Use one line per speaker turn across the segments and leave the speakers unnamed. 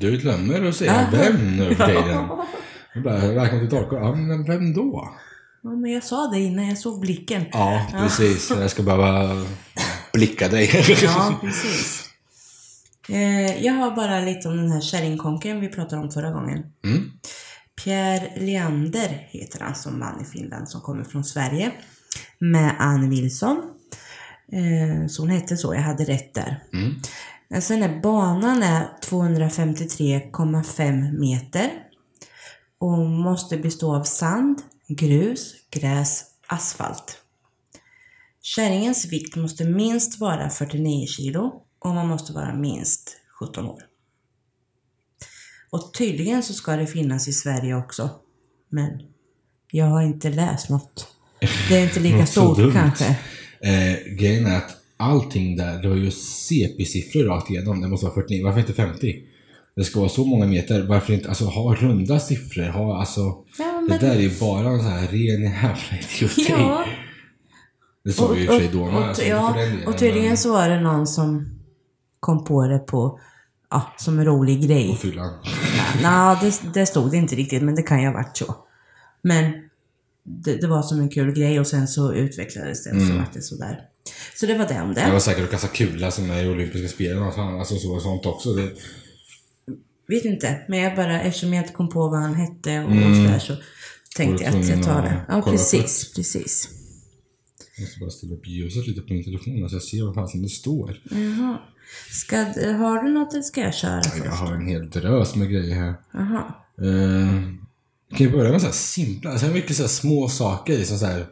ut lömmer och säga vem nu för tiden. Jag bara, välkommen till Dalkurd. Ja, men vem då?
Ja, men jag sa det innan jag såg blicken.
Ja, precis. Jag ska behöva blicka dig.
Ja, precis. Eh, jag har bara lite om den här kärringkonken vi pratade om förra gången.
Mm.
Pierre Leander heter han som man i Finland som kommer från Sverige. Med Ann Wilson. Eh, så hon hette så, jag hade rätt där.
Mm.
Men Sen är banan är 253,5 meter. Och måste bestå av sand, grus, gräs, asfalt. Kärringens vikt måste minst vara 49 kilo och man måste vara minst 17 år. Och tydligen så ska det finnas i Sverige också. Men jag har inte läst något. Det är inte lika
Något så dumt.
stort kanske.
Eh, grejen är att allting där, det var ju CP-siffror rakt igenom. Det måste vara 49, varför inte 50? Det ska vara så många meter, varför inte alltså, ha runda siffror? Ha, alltså,
Ja,
Det
men-
där är ju bara en sån här ren jävla idioti.
Ja.
Det sa vi ju i och för sig då med.
och,
alltså,
ja,
för den delen,
och tydligen
men-
så var det någon som kom på det på, ja, som en rolig grej.
På fyllan.
Nej, det, det stod det inte riktigt, men det kan ju ha varit så. Men det, det var som en kul grej och sen så utvecklades det och
Mm.
så vart det sådär. Så det var det om
Jag
det.
var säker att kasta kula som är i olympiska spelen och sånt, alltså, så, sånt också. Det,
Vet inte, men jag bara, eftersom jag inte kom på vad han hette och sådär så tänkte
Mm. Var
jag
du
att jag tar
tvungen
det.
att
Ja,
kolla
precis, precis.
jag måste bara ställa upp ljuset lite på min telefon så jag ser vad fan som det står.
Jaha. Ska, har du något eller ska jag köra
Jag
först?
har en hel drös med grejer här.
Jaha.
Eh, kan vi börja med så här simpla, alltså mycket så här små saker, liksom så här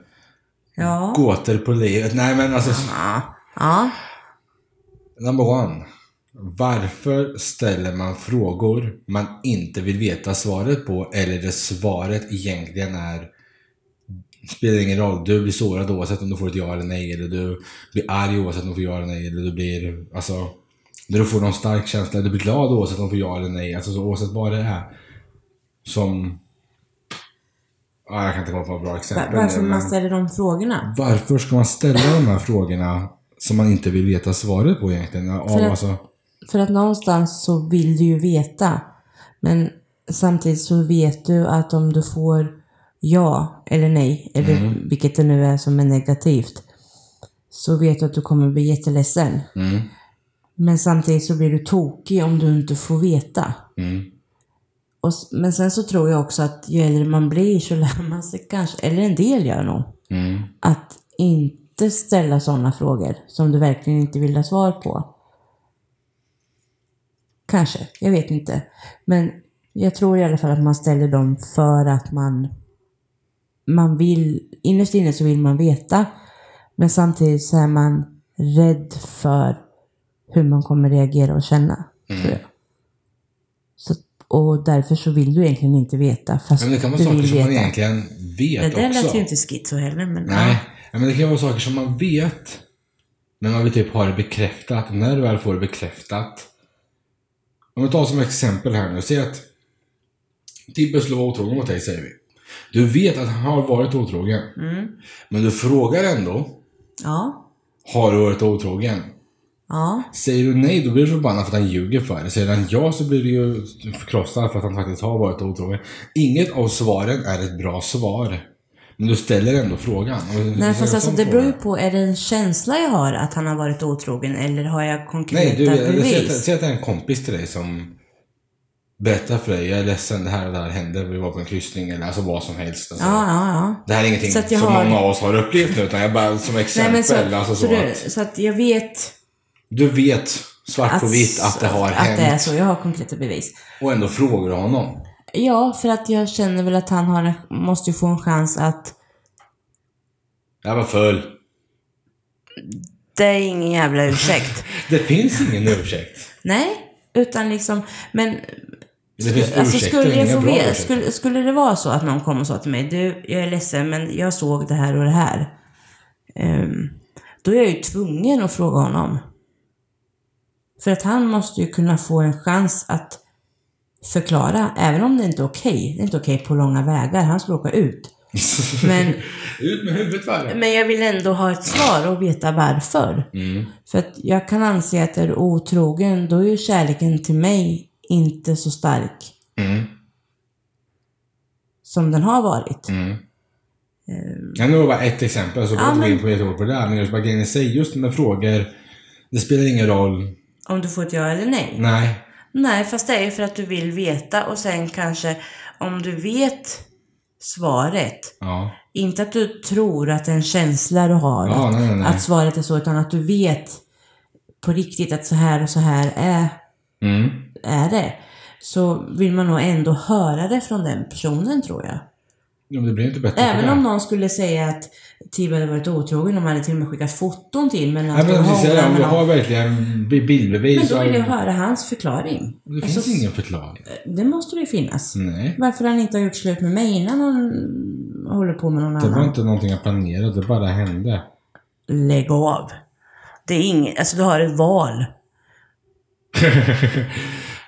Ja.
gåtor på livet. Nej men alltså,
Ja. ja.
number one. Varför ställer man frågor man inte vill veta svaret på eller det svaret egentligen är spelar ingen roll, du blir sårad oavsett om du får ett ja eller nej eller du blir arg oavsett om du får ja eller nej eller du blir, alltså när du får någon stark känsla, du blir glad oavsett om du får ja eller nej, alltså så oavsett vad det är som ah, jag kan inte komma på några bra
Va-
exempel.
Varför
men-
man ställer de frågorna?
varför ska man ställa de här frågorna som man inte vill veta svaret på egentligen? Av,
För att-
alltså,
För att någonstans så vill du ju veta. Men samtidigt så vet du att om du får ja eller nej, eller
Mm.
vilket det nu är som är negativt, så vet du att du kommer bli jätteledsen.
mm,
Men samtidigt så blir du tokig om du inte får veta.
mm,
Och, s- men sen så tror jag också att ju äldre man blir så lär man sig kanske, eller en del gör nog,
mm.
att inte ställa sådana frågor som du verkligen inte vill ha svar på. Kanske, jag vet inte. Men jag tror i alla fall att man ställer dem för att man, man vill, innerst inne så vill man veta. Men samtidigt så är man rädd för hur man kommer reagera och känna,
Mm.
tror jag. Så, och därför så vill du egentligen inte veta, fast
Men det kan vara
du
saker
vill
som man
veta.
egentligen
Det
vet
där
också.
lät ju inte schizo heller, men...
Nej, men det kan vara saker som man vet, men man vill typ ha det bekräftat. När du väl får det bekräftat. Om vi tar som exempel här nu, säg att Tibbe skulle vara otrogen mot dig, säger vi. Du vet att han har varit otrogen,
Mm.
men du frågar ändå,
Ja.
har du varit otrogen?
Ja.
Säger du nej, då blir du förbannad för att han ljuger för dig. Säger han ja, så blir du ju förkrossad för att han faktiskt har varit otrogen. Inget av svaren är ett bra svar. Men du ställer ändå frågan. Och det är
Nej
en
fast alltså
sån
det
fråga.
beror ju på, är det en känsla jag har att han har varit otrogen eller har jag
Nej,
konkreta
du, eller säg att,
bevis?
säg att det är en kompis till dig som berättar för dig, jag är ledsen, det här och det här hände, vi var på en kryssning eller alltså vad som helst. Alltså.
Ja, ja, ja.
Det här är ingenting
Så att jag
som
har-
många av oss har upplevt nu, utan jag bara som
Nej,
exempel.
men så,
alltså
så,
så
du,
att
så att jag vet
du vet svart på vitt att det har
Alltså, att
hänt
det är så. Jag har konkreta bevis.
och ändå frågar du honom.
Ja, för att jag känner väl att han har en, måste ju få en chans att
Jag var full.
det är ingen jävla ursäkt.
Det finns ingen ursäkt.
Nej, utan liksom, men
Det finns
Alltså
ursäkter,
skulle, jag
inga
få
bra
veta,
ursäkter.
skulle, skulle det vara så att någon kom och sa till mig, du, jag är ledsen men jag såg det här och det här. Ehm, då är jag ju tvungen att fråga honom. För att han måste ju kunna få en chans att förklara, även om det inte är okej. Det är inte okej på långa vägar, han ska åka ut. Men,
Ut med huvudet varje.
men jag vill ändå ha ett svar och veta varför.
Mm.
För att jag kan anse att är du otrogen, då är ju kärleken till mig inte så stark
Mm.
som den har varit.
Mm. Jag nämnde bara ett exempel, så går
Ja,
vi
men-
in på ett ord på det där. Men just bara grejen i sig, just med frågor, det spelar ingen roll.
Om du får ett ja eller nej.
Nej.
Nej, fast det är ju för att du vill veta och sen kanske om du vet svaret,
Ja.
inte att du tror att det är en känsla du har,
Ja,
att,
nej, nej, nej.
att svaret är så, utan att du vet på riktigt att så här och så här är,
Mm.
är det. Så vill man nog ändå höra det från den personen tror jag.
Jo, men det blir inte bättre för
Även
det.
om någon skulle säga att Tibbe hade varit otrogen, de hade till och med skickat foton till men
Nej,
att
men
de
jag
har
precis, ja, om du
honom-
har liksom- verkligen bi- bildbevis.
Men då vill
så-
jag höra hans förklaring.
Det finns
Alltså,
ingen förklaring.
Det måste det ju finnas.
Nej.
Varför han inte har gjort slut med mig innan han håller på med någon
Det var
annan.
inte någonting jag planerade, det bara hände.
Lägg av. Det är inget, alltså du har ett val.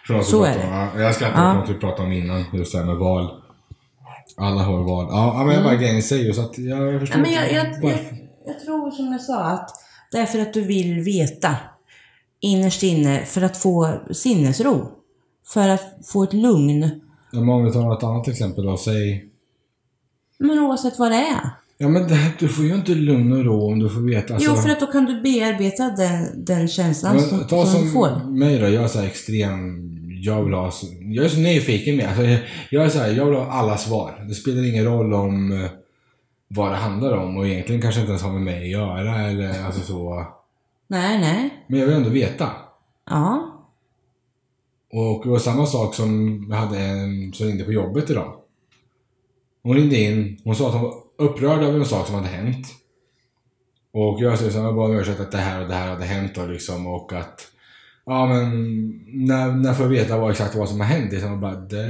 Från
Så är
Om, jag ska inte
Ja.
ja. vi pratade om innan, just det här med val. Alla har val. Ja, ja, men jag bara grejen i sig, så att jag
Nej,
förstår
Mm. men jag,
inte
jag, jag,
varför.
jag tror som jag sa att det är för att du vill veta innerst inne för att få sinnesro. För att få ett lugn.
Ja, men om vi tar ett annat exempel då, säg
Men oavsett vad det är.
Ja men det, här- du får ju inte lugn och ro om du får veta.
jo, för att då kan du bearbeta den, den känslan som,
Alltså- men, ta
som du
som,
får.
mig då, jag är så här extrem. Jag vill ha, så- jag är så nyfiken med. Alltså, jag, jag är så här, jag vill ha alla svar. Det spelar ingen roll om eh, vad det handlar om och egentligen kanske inte ens har med mig att göra eller alltså så.
Nej, nej.
Men jag vill ändå veta.
Ja.
Och det var samma sak som jag hade en som ringde på jobbet idag. Hon ringde in, hon sa att hon var upprörd över en sak som hade hänt. Och jag sa så här, jag bad om ursäkt att det här och det här hade hänt och liksom och att Ja men när, när får jag veta vad, exakt vad som har hänt? Liksom, och bara, det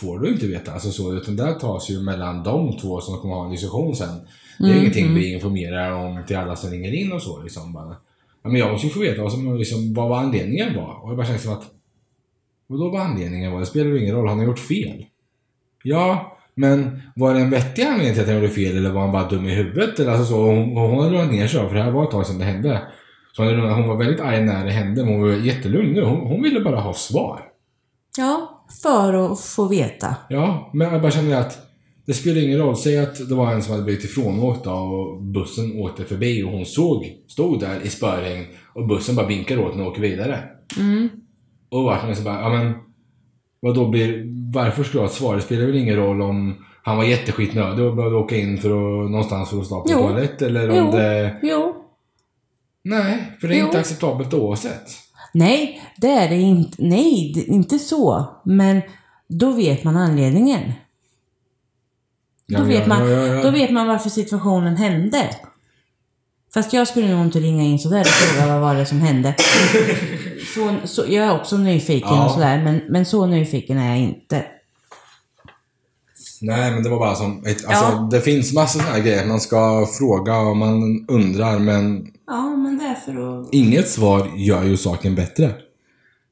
får du inte veta. Alltså så, utan det här tas ju mellan de två som kommer ha en diskussion sen. Det är ju
Mm,
ingenting
mm.
vi informerar om till alla som ringer in och så. Liksom, bara. Ja, men jag måste ju få veta vad, som, liksom, vad, vad anledningen var. Och jag bara kände som att Vadå vad anledningen var? Det spelar ju ingen roll, han har gjort fel. Ja, men var det en vettig anledning till att han gjorde fel eller var han bara dum i huvudet? Eller alltså så, och hon, och hon hade lugnat ner sig för det här var ett tag sedan det hände. Så hon, hade lugnat- hon var väldigt arg när det hände men hon var jättelugn nu. Hon, hon ville bara ha svar.
Ja, för att få veta.
Ja, men jag bara kände att det spelar ingen roll. Säg att det var en som hade blivit ifrånåkt då, och bussen åkte förbi och hon såg, stod där i spöregn och bussen bara vinkar åt henne och åker vidare.
Mm.
Och vart man så bara, ja men vadå blir, varför skulle jag ha ett svar? Det spelar väl ingen roll om han var jätteskitnödig och behövde åka in för att, någonstans för att stå på
Jo.
toalett eller om
Jo.
det...
Jo.
Nej, för det är
Jo.
inte acceptabelt oavsett.
Nej, det är det inte. Nej, det- inte så. Men då vet man anledningen. Då,
Ja,
vet,
ja,
man,
ja, ja, ja.
då vet man varför situationen hände. Fast jag skulle nog inte ringa in sådär och fråga vad var det som hände. Så, så, jag är också nyfiken
Ja.
och sådär, men, men så nyfiken är jag inte.
Nej, men det var bara som... Ett, alltså,
Ja.
Det finns massor sådana här grejer. Man ska fråga och man undrar, men
Ja, men därför att...
inget svar gör ju saken bättre.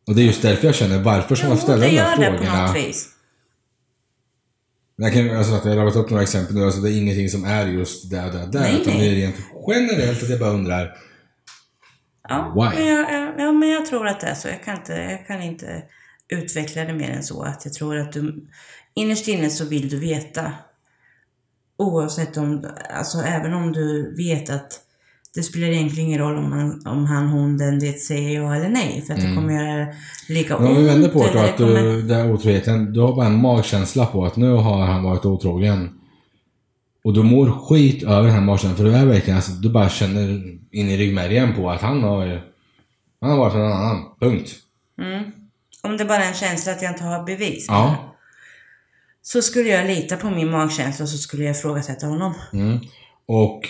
Och det är just därför jag känner, varför ska man ställa de här frågorna?
vis.
Jag, kan, alltså, att jag har rabblat upp några exempel nu, alltså, det är ingenting som är just där och där, där
Nej,
utan
nej.
det är rent generellt att jag bara undrar.
Ja,
Why?
men jag, jag- ja, men jag tror att det är så. Jag kan, inte, jag kan inte utveckla det mer än så. Att jag tror att du, innerst inne så vill du veta. Oavsett om, alltså även om du vet att det spelar egentligen ingen roll om han, om han hon, den, det säger ja eller nej. För att det kommer göra lika
Mm. Men om vi vänder på det då,
eller
att du, den här otroheten, du har bara en magkänsla på att nu har han varit otrogen. Och du mår skit över den här magkänslan, för det är verkligen, alltså, du bara känner in i ryggmärgen på att han har ju, han har varit med någon annan. Punkt.
Mm. Om det bara är en känsla att jag inte har bevis.
Ja.
Så skulle jag lita på min magkänsla och så skulle jag ifrågasätta honom.
Mm. Och,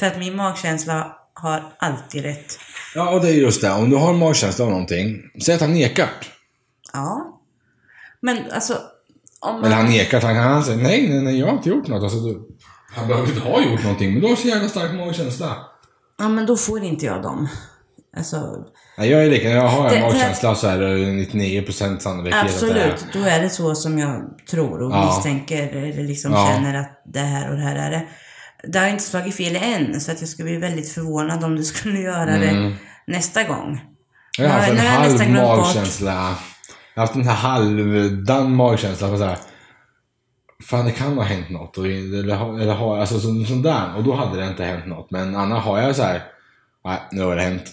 För att min magkänsla har alltid rätt.
ja och det är just det, om du har en magkänsla av någonting, säg att han nekar.
Ja. Men alltså, om man...
Eller han nekar, han, han säger nej, nej, nej, jag har inte gjort något. Alltså, du, han behöver inte ha gjort någonting, men du har så jävla stark magkänsla.
Ja, men då får inte jag dem. Alltså,
Nej, jag är lika, jag har
Det-
en
för att-
magkänsla så är det 99% sannolikhet att det är.
absolut. Då är det så som jag tror och
Ja.
misstänker eller liksom
Ja.
känner att det här och det här är det. Det har inte
Mm.
slagit fel än, så att jag skulle bli väldigt förvånad om du skulle göra det nästa gång.
Jag har haft en
Nej, nej,
halv
nästan glömt bort.
magkänsla. Jag har haft den här halvdan magkänsla på så här. Fan, det kan ha hänt något. Och, eller, har- eller har, alltså så, sån där. Och då hade det inte hänt något. Men annars har jag så här. Nej, nu har det hänt.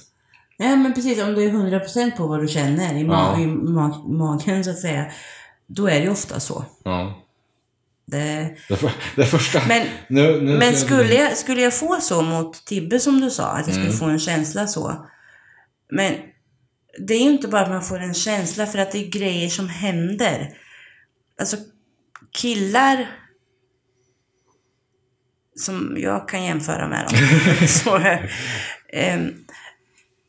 Ja men precis, om du är 100% på vad du känner i, ma-
Ja.
i ma- magen så att säga. Då är det ju ofta så.
Ja.
Det...
Det, för, det första.
Men,
nu, nu,
men skulle, jag, skulle jag få så mot Tibbe som du sa, att jag skulle
Mm.
få en känsla så. Men det är ju inte bara att man får en känsla för att det är grejer som händer. Alltså killar som jag kan jämföra med dem. så, ehm,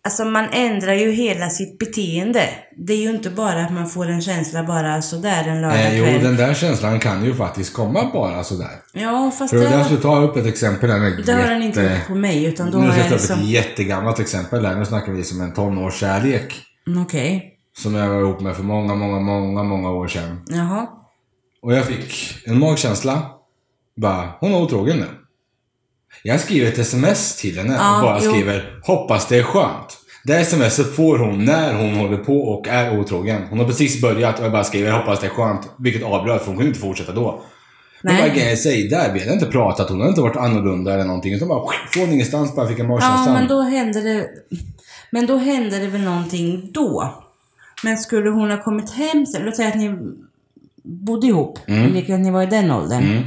Alltså man ändrar ju hela sitt beteende. Det är ju inte bara att man får en känsla bara sådär en
Eh, jo,
lördagkväll.
den där känslan kan ju faktiskt komma bara sådär.
Ja, fast
För det
det,
där skulle ta upp ett exempel här med
det har den inte
jätte-
gjort på mig. Utan då
Nu
har
ska
jag
jag ta upp ett
liksom...
jättegammalt exempel här. Nu snackar vi som en tonårskärlek.
Mm, Okej.
Som jag var ihop med för många, många, många, många år sedan.
Jaha.
Och jag fick en magkänsla. Bara, hon är otrogen nu. Jag skriver ett sms till henne
Ja,
och bara
jo.
skriver, hoppas det är skönt. Det smset får hon när hon håller på och är otrogen. Hon har precis börjat och jag bara skriver, hoppas det är skönt. Vilket avbröt för hon kunde inte fortsätta då. Men
Nej.
vad grejen säger där, vi hade inte pratat, hon hade inte varit annorlunda eller någonting. Utan bara från ingenstans bara fick en magkänsla.
Ja, men då hände det... Men då hände det väl någonting då. Men skulle hon ha kommit hem sen, låt säga att ni bodde ihop,
Mm.
vilket ni var i den åldern.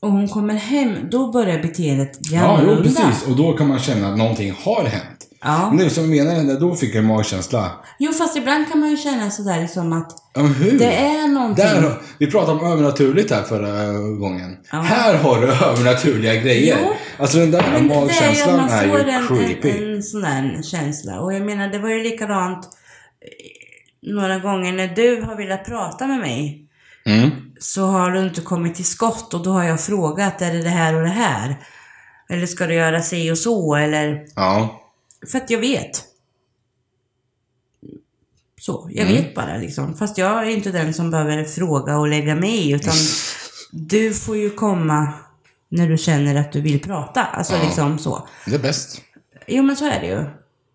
Och hon kommer hem, då börjar beteendet bli
Ja, jo,
annorlunda.
precis. Och då kan man känna att någonting har hänt.
Ja.
Nu som menar den där, då fick jag en magkänsla.
Jo, fast ibland kan man ju känna sådär liksom att
Ja, men hur?
det är någonting.
Mm. där, vi pratade om övernaturligt här förra eh, gången. Här har du övernaturliga grejer.
Jo.
Alltså den där
Men det är ju om
magkänslan
man
är ju
får en,
creepy.
en, en sån där känsla. Och jag menar, det var ju likadant eh, några gånger när du har velat prata med mig.
Mm.
så har du inte kommit till skott och då har jag frågat, är det det här och det här? Eller ska du göra si och så? Eller...
Ja.
För att jag vet. Så, jag
Mm.
vet bara liksom. Fast jag är inte den som behöver fråga och lägga mig i, utan du får ju komma när du känner att du vill prata. Alltså liksom så.
Det är bäst.
Jo men så är det ju.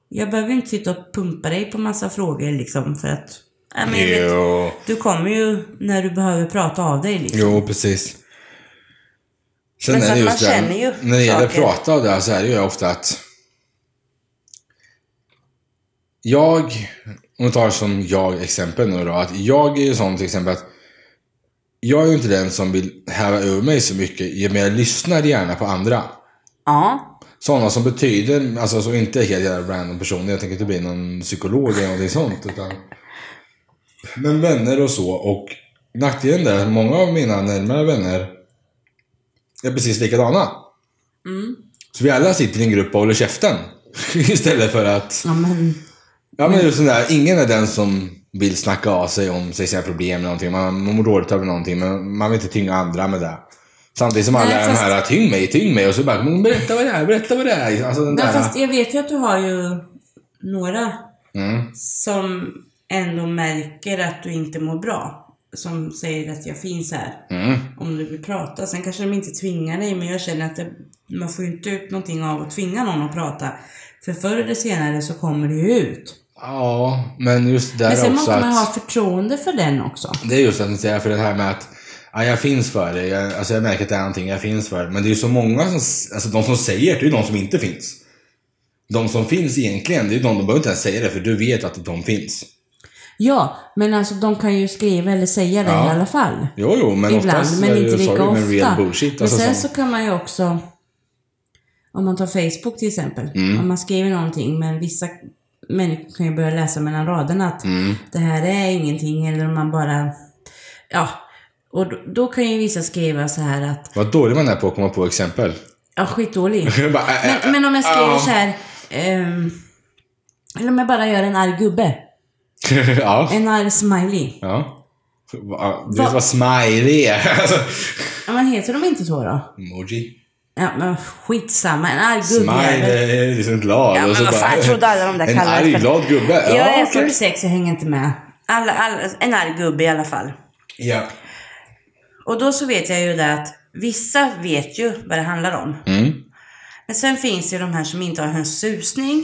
Jag behöver inte sitta och pumpa dig på massa frågor liksom för att... Nej, men jag vet,
Jo.
du kommer ju när du behöver prata av dig liksom.
Jo, precis. Sen
Men så
är det
att man
just det här-
känner ju
När det gäller att
saker.
prata och det här så är det ju ofta att jag, om vi tar som jag exempel nu då, att jag är ju sån till exempel att jag är ju inte den som vill häva ur mig så mycket, men jag lyssnar gärna på andra.
Ja.
Sådana som betyder, alltså så inte helt jävla random personer, jag tänker inte bli någon psykolog eller någonting sånt. Utan, men vänner och så, och nackdelen där, många av mina närmare vänner är precis likadana. Så vi alla sitter i en grupp och håller käften. Istället för att,
Ja, men
ja men just den där, ingen är den som vill snacka av sig om sig sina problem eller någonting. Man, man mår dåligt över någonting, men man vill inte tynga andra med det. Samtidigt som alla
Nej,
är de
fast-
här, tyng mig, tyng mig. Och så bara, men berätta vad det är, berätta vad det är. Alltså den
Nej,
där.
fast jag vet ju att du har ju några
Mm.
som ändå märker att du inte mår bra. Som säger att jag finns här
Mm.
om du vill prata. Sen kanske de inte tvingar dig, men jag känner att det, man får ju inte ut någonting av att tvinga någon att prata. För förr eller senare så kommer det ju ut.
Ja, men just där
Men sen
också
måste man
att...
ha förtroende för den också.
Det är just att ni säger för det här med att ja, jag finns för det. Jag, alltså jag märker att det är någonting jag finns för. Men det är ju så många som... s- Alltså de som säger det, det är ju de som inte finns. De som finns egentligen, det är ju de, de behöver inte ens säga det för du vet att de finns.
Ja, men alltså de kan ju skriva eller säga det
Ja.
i alla fall.
Jo, jo, men
Ibland,
oftast är
men
det
inte
ju
lika
sorry,
ofta.
men real bullshit. Alltså,
men sen
som,
så kan man ju också, om man tar Facebook till exempel,
Mm.
om man skriver någonting, men vissa människor kan ju börja läsa mellan raderna att
Mm.
det här är ingenting, eller om man bara, ja, och då, då kan ju vissa skriva så här att,
Vad dålig man är på att komma på exempel.
ja skitdålig.
Jag bara, äh, äh,
Men, men om jag skriver
ja.
så här, ehm, eller om jag bara gör en arg gubbe,
ja.
en arg smiley.
ja. Va- Du vet vad smiley är? Alltså,
Ja, men heter de inte så då?
Emoji.
Ja, men skitsamma, en arg gubbjävel.
Smile, eh, liksom glad.
Ja,
och
men
så
vad fan, jag trodde alla de där
En
kallades
arg,
för-
glad gubbe.
Jag är
okej.
46, jag hänger inte med. Alla, alla, en arg gubbe i alla fall.
Ja.
Och då så vet jag ju det att vissa vet ju vad det handlar om.
Mm.
Men sen finns det ju de här som inte har en susning.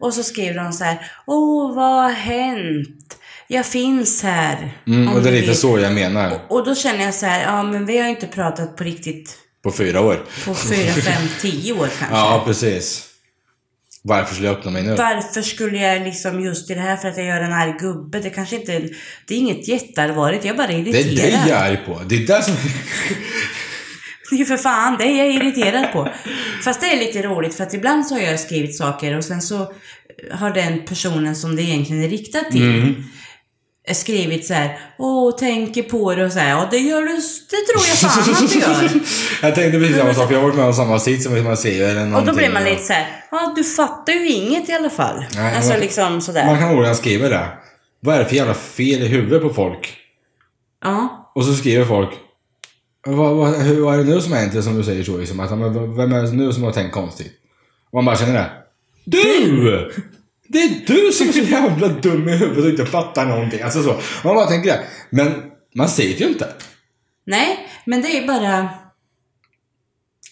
Och så skriver de så här, åh vad har hänt? Jag finns här.
Mm,
Om
och det
du
är lite
vill."
så jag menar.
Och då känner jag så här, ja men vi har ju inte pratat på riktigt
På fyra år.
på fyra, fem, tio år kanske.
Ja, precis. Varför skulle jag öppna mig nu?
Varför skulle jag liksom just i det här för att jag gör en arg gubbe? Det kanske inte är, det är inget jätteallvarligt, jag är bara
Det är
irriterad.
dig jag är arg på. Det är det som...
Det är ju för fan det är jag irriterad på. Fast det är lite roligt för att ibland så har jag skrivit saker och sen så eh, har den personen som det egentligen är riktat till
Mm.
skrivit så här, åh, tänker på det och så här, ja det gör du, det tror jag fan att du gör.
jag tänkte precis samma sak, för jag har varit med om samma sits som man ser eller
Och
någonting.
då blir man lite så här, ja du fattar ju inget i alla fall.
Nej,
alltså
men-
liksom sådär.
Man kan ordagrant skriva det. Vad är det för jävla fel i huvudet på folk?
Ja.
Och så skriver folk. Vad, vad, hur, vad är det nu som har hänt? Det är Som du säger så. Liksom, att, men, vem är det nu som har tänkt konstigt? Och man bara känner det. Du! Det är du som är så jävla dum i huvudet och inte fattar någonting. Alltså så. Och man bara tänker det. Men man säger det ju inte.
Nej, men det är ju bara...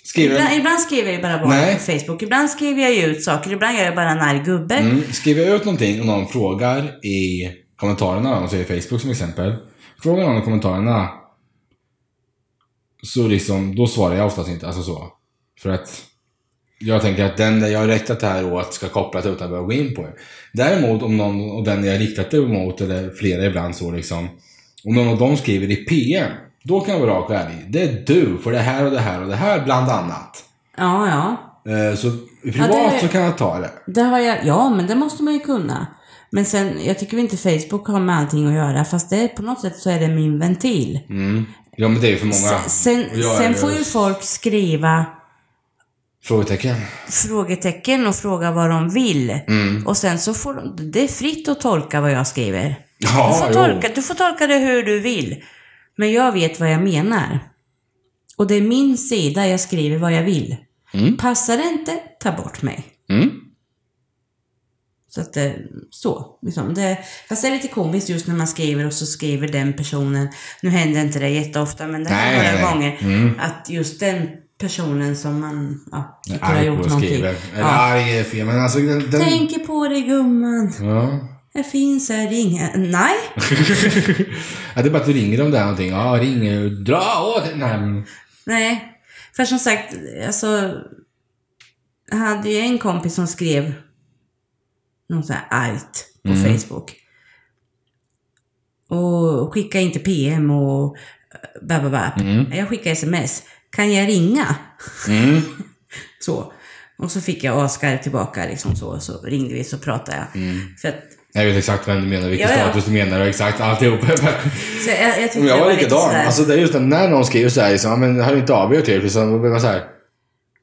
Skriver
Ibland, ibland skriver jag bara bara
Nej.
på Facebook, ibland skriver jag ju ut saker, ibland gör jag bara en arg gubbe.
Mm. Skriver jag ut någonting och någon frågar i kommentarerna, om man säger Facebook som exempel. Frågar någon i kommentarerna. Så liksom, då svarar jag oftast inte. Alltså så. För att jag tänker att den där jag har riktat det här åt ska koppla till utan att behöva gå in på det. Däremot om någon, och den jag har riktat det mot, eller flera ibland så liksom. Om någon av dem skriver i PM. Då kan jag vara rak och ärlig. Det är du för det här och det här och det här bland annat.
Ja, ja.
Eh, Så privat
det-
så kan jag ta det.
Det har jag, ja, men det måste man ju kunna. Men sen, jag tycker inte Facebook har med allting att göra, fast det, är- på något sätt så är det min ventil.
Mm. Ja men det är ju för många.
Sen, sen,
Jag
sen
är-
får ju folk skriva
Frågetecken.
frågetecken och fråga vad de vill.
Mm.
Och sen så får de, det är fritt att tolka vad jag skriver. Du
Ja,
får, tolka, du får tolka det hur du vill. Men jag vet vad jag menar. Och det är min sida jag skriver vad jag vill.
Mm.
Passar det inte, ta bort mig.
jo. Mm.
Så att det, så. Liksom. Det, fast det är lite komiskt just när man skriver och så skriver den personen, nu händer inte det jätteofta, men det
Nej,
händer
nej,
några
nej.
gånger,
Mm.
att just den personen som man ja,
Jag
tycker
är
har
arg
gjort
på att
någonting.
skriva. Eller arg är fel, men alltså den... den...
Tänker på dig gumman,
Ja.
det finns här inga... Nej!
ja. Det är bara att du ringer om det här någonting. Ja, ring. Dra åt Nej. men-
Nej, för som sagt, alltså, jag hade ju en kompis som skrev något sånt här argt på
Mm.
Facebook. Och skicka inte PM och äh, ba, ba, ba. Jag skickade sms. Kan jag ringa?
Mm.
Så. Och så fick jag Oscar tillbaka liksom så. Så ringde vi så pratade jag.
Mm.
För att,
Jag vet exakt vem du menar, vilken
Ja, ja.
status du menar och exakt alltihop.
så jag, jag tyckte
Men jag
det
var
lite
likadan.
sådär-
Alltså det är just det, när någon skriver såhär liksom, ja, men hör inte av er till er. Så liksom, blir man såhär.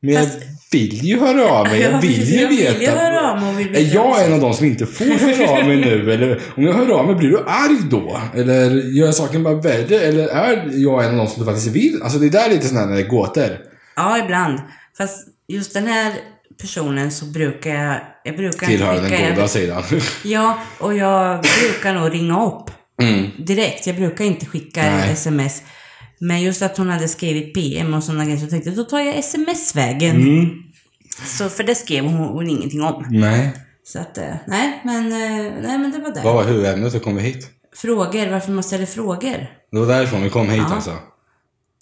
Men jag
Fast-
vill ju höra av mig. Jag
Ja,
vill
precis.
ju
Jag vill ju
veta.
höra av mig och vill
är
veta
jag
också.
en av de som inte får höra av mig nu? Eller om jag hör av mig, blir du arg då? Eller gör saken bara värre? Eller är jag en av de som du faktiskt vill? Alltså det där är lite sådana när det är gåtor.
Ja, ibland. Fast just den här personen så brukar jag... Jag brukar
Tillhör
inte skicka...
den
jag-
goda sidan.
Ja, och jag brukar nog ringa upp
Mm.
direkt. Jag brukar inte skicka
Nej.
sms. Men just att hon hade skrivit PM och sådana grejer så tänkte jag då tar jag sms-vägen.
Mm.
Så, för det skrev hon, hon ingenting om.
Nej.
Så att, eh, nej, men, eh, nej, men det var det.
Vad var huvudämnet och kom vi hit?
Frågor, varför man ställer frågor.
Det var därifrån vi kom hit
Ja.
alltså.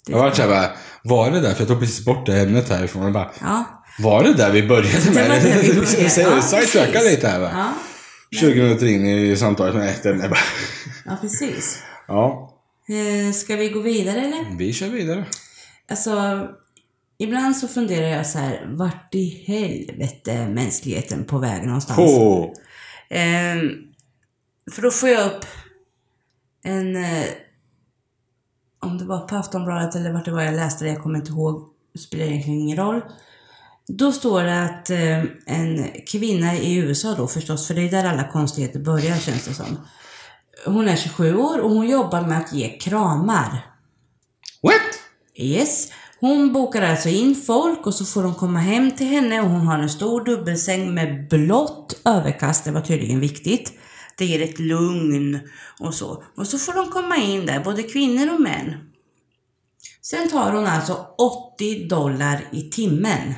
Jag var såhär bara, var det där? För jag tog precis bort det ämnet härifrån. Jag bara,
Ja,
var det där vi började
det
med?
var det vi började. Ja,
började. Sidetracka
precis.
lite här va?
ja,
20 minuter in i samtalet med ett ämne bara.
ja precis.
Ja,
Eh, ska vi gå vidare eller?
vi kör vidare.
Alltså, ibland så funderar jag så här, vart i helvete är mänskligheten på väg någonstans?
På.
Ehm, för då får jag upp en... Eh, om det var på Aftonbladet eller vart det var jag läste det, jag kommer inte ihåg. Det spelar egentligen ingen roll. Då står det att eh, en kvinna i USA då förstås, för det är där alla konstigheter börjar känns det som. Hon är 27 år och hon jobbar med att ge kramar.
What?
Yes. Hon bokar alltså in folk och så får de komma hem till henne och hon har en stor dubbelsäng med blått överkast. Det var tydligen viktigt. Det ger ett lugn och så. Och så får de komma in där, både kvinnor och män. Sen tar hon alltså 80 dollar i timmen.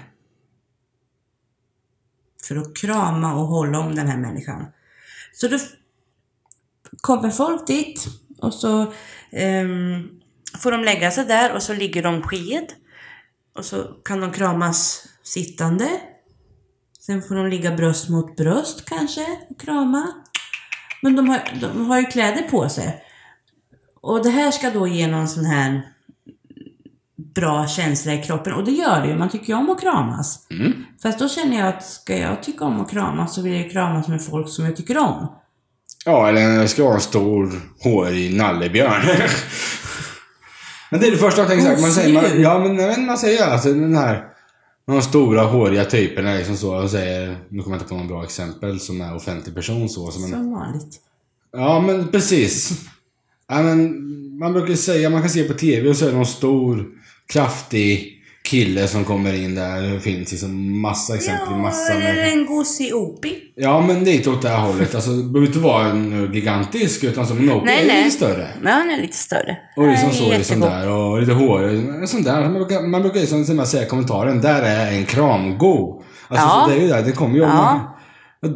för att krama och hålla om den här människan. Så då f- kommer folk dit och så ehm, får de lägga sig där och så ligger de sked. Och så kan de kramas sittande. Sen får de ligga bröst mot bröst kanske och krama. Men de har, de har ju kläder på sig. Och det här ska då ge någon sån här bra känsla i kroppen. Och det gör det ju. Man tycker ju om att kramas.
Mm.
Fast då känner jag att ska jag tycka om att kramas så vill jag ju kramas med folk som jag tycker om.
Ja, eller jag ska vara en stor, hårig nallebjörn. men det är det första jag tänker såhär. Man säger, man,
Osynlig.
ja, men, men man säger alltså den här... De stora, håriga typerna liksom så. Jag säger, nu kommer jag inte på något bra exempel som är offentlig person så. så men,
Som vanligt.
Ja, men precis. Ja, men, man brukar ju säga, man kan se på TV och så är det någon stor, kraftig kille som kommer in där. Det finns liksom massa exempel. massa med-
eller en gosig opi.
Ja, men lite åt det här hållet. Alltså, det behöver inte vara en gigantisk, utan som en Opie
Nej,
är
nej.
lite större.
Men han är lite större.
Och liksom
Han är
så, liksom
jättegod.
där. Och lite hårig. Sån där. Man brukar, man brukar liksom till och med säga i kommentaren, där är en kramgo. Alltså,
Ja.
så det är ju där, det kommer ju.
Ja.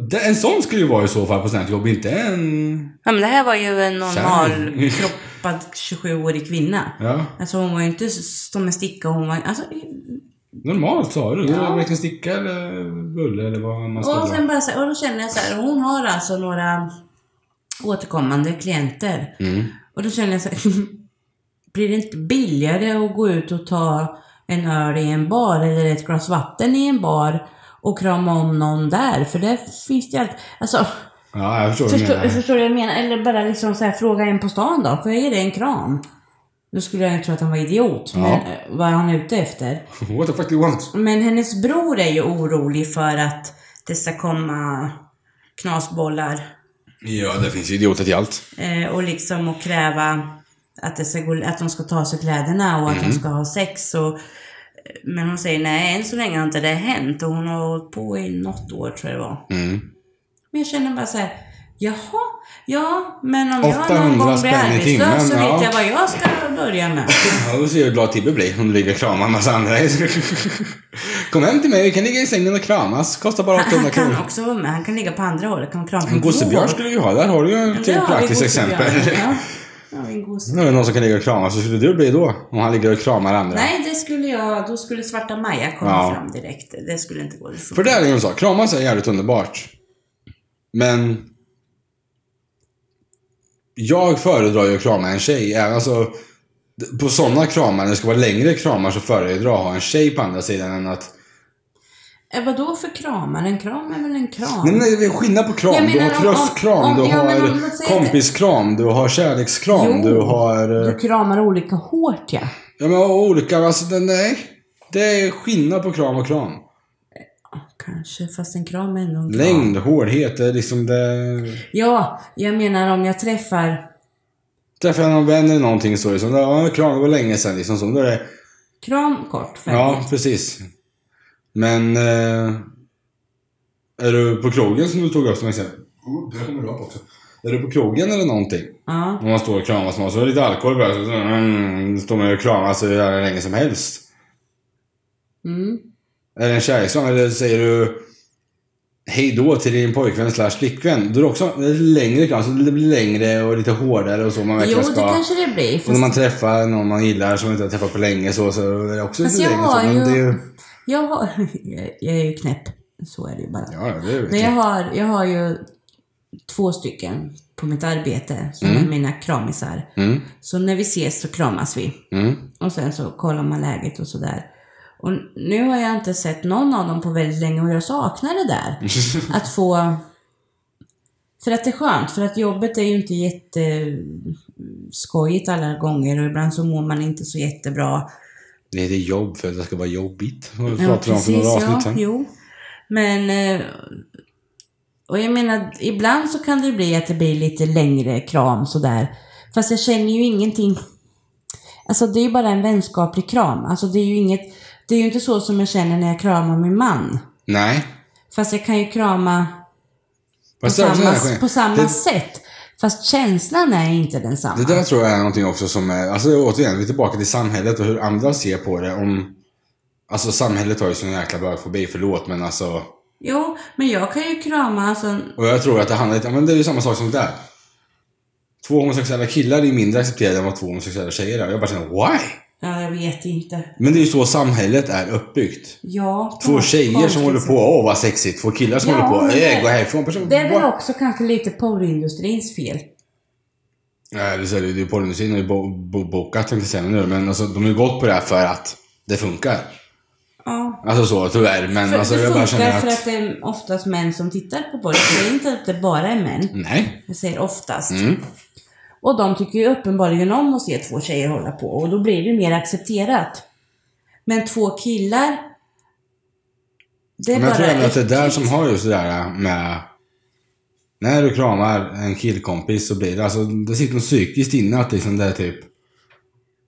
Det, en sån skulle ju vara i så fall på sånt här jobb, inte en...
Ja, men det här var ju en
Kärring.
normalkroppad 27-årig kvinna.
Ja,
Alltså hon var ju inte s- som en sticka. Hon var, alltså,
normalt sa du.
Ja.
Ja. Vilken sticka eller bulle eller vad man ska
och
dra.
sen bara så här, och då känner jag så här, hon har alltså några återkommande klienter.
Mm.
Och då känner jag så här, blir det inte billigare att gå ut och ta en öl i en bar eller ett glas vatten i en bar och krama om någon där? För där finns det ju allt. Alltså,
Ja, jag förstår vad du
Förstår,
menar.
förstår du vad jag menar? Eller bara liksom så här, fråga en på stan då. Får jag ge dig en kram? Då skulle jag ju tro att han var idiot.
Ja.
Men eh, vad är han ute efter?
What the fuck do you want?
Men hennes bror är ju orolig för att det ska komma knasbollar
Ja, det finns ju idioter till allt.
eh, och liksom och kräva att, det ska gå, att de ska ta sig kläderna och att
Mm.
de ska ha sex. Och, eh, men hon säger nej, än så länge har inte det hänt och hon har hållit på i något år tror jag det var.
Mm.
Men jag känner bara så här, jaha, ja, men om jag
800
någon gång blir
spänn i timmen,
arbetslös så
ja.
vet jag vad jag ska börja med.
Ja, då ser jag hur glad Tibbe blir. Hon ligger och kramar en massa andra. Kom hem till mig, vi kan ligga i sängen och kramas. Kostar bara
Han
800 kronor.
kan också vara med, han kan ligga på andra hållet, kan krama från
En gossebjörn
två håll.
skulle vi ha. Där har du ju ett
Ja,
till
en
praktiskt
gossebjörn,
exempel.
Ja, ja, en gosse.
Nu är det någon som kan ligga och kramas. Hur skulle du bli då? Om han ligger och kramar andra.
Nej, det skulle jag, då skulle Svarta Maja komma
Ja.
fram direkt. Det skulle inte gå. Det funkar.
För det är ju en sak. Kramas är jävligt underbart. Men... Jag föredrar ju att krama en tjej. Även alltså, på sådana kramar, när det ska vara längre kramar, så föredrar jag att ha en tjej på andra sidan än att...
Eh, vadå för kramar? En kram är väl en kram?
Nej, men det är skillnad på kram.
Jag
du
menar
har
om-
tröstkram,
om- om-
du
ja, men
har
om- låt säga att-
kompiskram, du har kärlekskram,
Jo.
du har... eh,
Du kramar olika hårt ja.
Ja, men olika, alltså det- nej. Det är skillnad på kram och kram.
Kanske, fast en kram är ändå en kram.
Längd, hårdhet, det är liksom det...
Ja, jag menar om jag träffar
Träffar jag någon vän eller någonting så liksom, ja, kram, det var länge sedan liksom så. Då är det,
kram kort, färdigt.
ja, precis. Men... Eh, är du på krogen som du tog upp som exempel? Oh, det kommer du upp också. Är du på krogen eller någonting?
ja.
Om man står och kramas med oss. Och lite alkohol bara. Så, mm, står man och kramas så jävla länge som helst.
Mm.
Är det en kärlekskram? Eller säger du hej då till din pojkvän slash flickvän? Då är det också det är längre kram. Så det blir längre och lite hårdare och så. Man
Jo,
verkligen
det
ska...
kanske det blir.
Och när
Fast,
man träffar någon man gillar som man inte har träffat på länge så, så är det också
Fast
lite
jag
längre.
har
Så, men
ju-
det är ju...
jag, har, jag- jag är ju knäpp. Så är det ju bara.
Ja, ja, det är
Men
ju...
jag har, jag har ju två stycken på mitt arbete som är mina kramisar.
Mm,
Så när vi ses så kramas vi.
mm.
Och sen så kollar man läget och sådär. Och nu har jag inte sett någon av dem på väldigt länge och jag saknar det där. Att få... För att det är skönt, för att jobbet är ju inte jätteskojigt alla gånger och ibland så mår man inte så jättebra.
Det heter jobb för att det ska vara jobbigt. Och det
Ja,
pratade vi om för några
ja,
avsnitt sen.
jo. Men... eh, Och jag menar, ibland så kan det bli att det blir lite längre kram sådär. Fast jag känner ju ingenting. Alltså det är ju bara en vänskaplig kram. Alltså det är ju inget... Det är ju inte så som jag känner när jag kramar min man.
Nej.
Fast jag kan ju krama på
Fast det är också
samma,
den här skillnaden.
på samma
Det-
sätt. Fast känslan är inte densamma.
Det där tror jag är någonting också som är, alltså återigen, vi är tillbaka till samhället och hur andra ser på det. Om, alltså samhället har ju sån jäkla bögfobi, förlåt men alltså.
Jo, men jag kan ju krama alltså,
Och jag tror att det handlar lite, ja, men det är ju samma sak som det där. Två homosexuella killar är mindre accepterade än vad två homosexuella tjejer är. Jag bara känner, why?
ja, jag vet inte.
Men det är ju så samhället är uppbyggt.
Ja, på
Två
något
tjejer som
konstigt
håller
sätt.
på, åh vad sexigt. Två killar som
Ja,
håller på,
men
eh,
det-
gå härifrån. Person,
Det är väl
what?
också kanske lite porrindustrins fel.
Nej, det är så- det är ju porrindustrin har ju bo- bo- bokat tänkte jag säga nu. Men alltså, de har ju gått på det här för att det funkar.
Ja.
Alltså så, tyvärr. Men
För,
alltså,
det
jag
funkar
bara känner
för
att...
att det är oftast män som tittar på porr. Jag säger inte att det bara är män.
Nej.
Jag säger oftast.
Mm.
Och de tycker ju uppenbarligen om att se två tjejer hålla på och då blir det ju mer accepterat. Men två killar, det är
Men
bara
jag tror även att det är där
äckligt.
som har just det där äh, med... När du kramar en killkompis så blir det alltså, det sitter något psykiskt inne att liksom det är typ...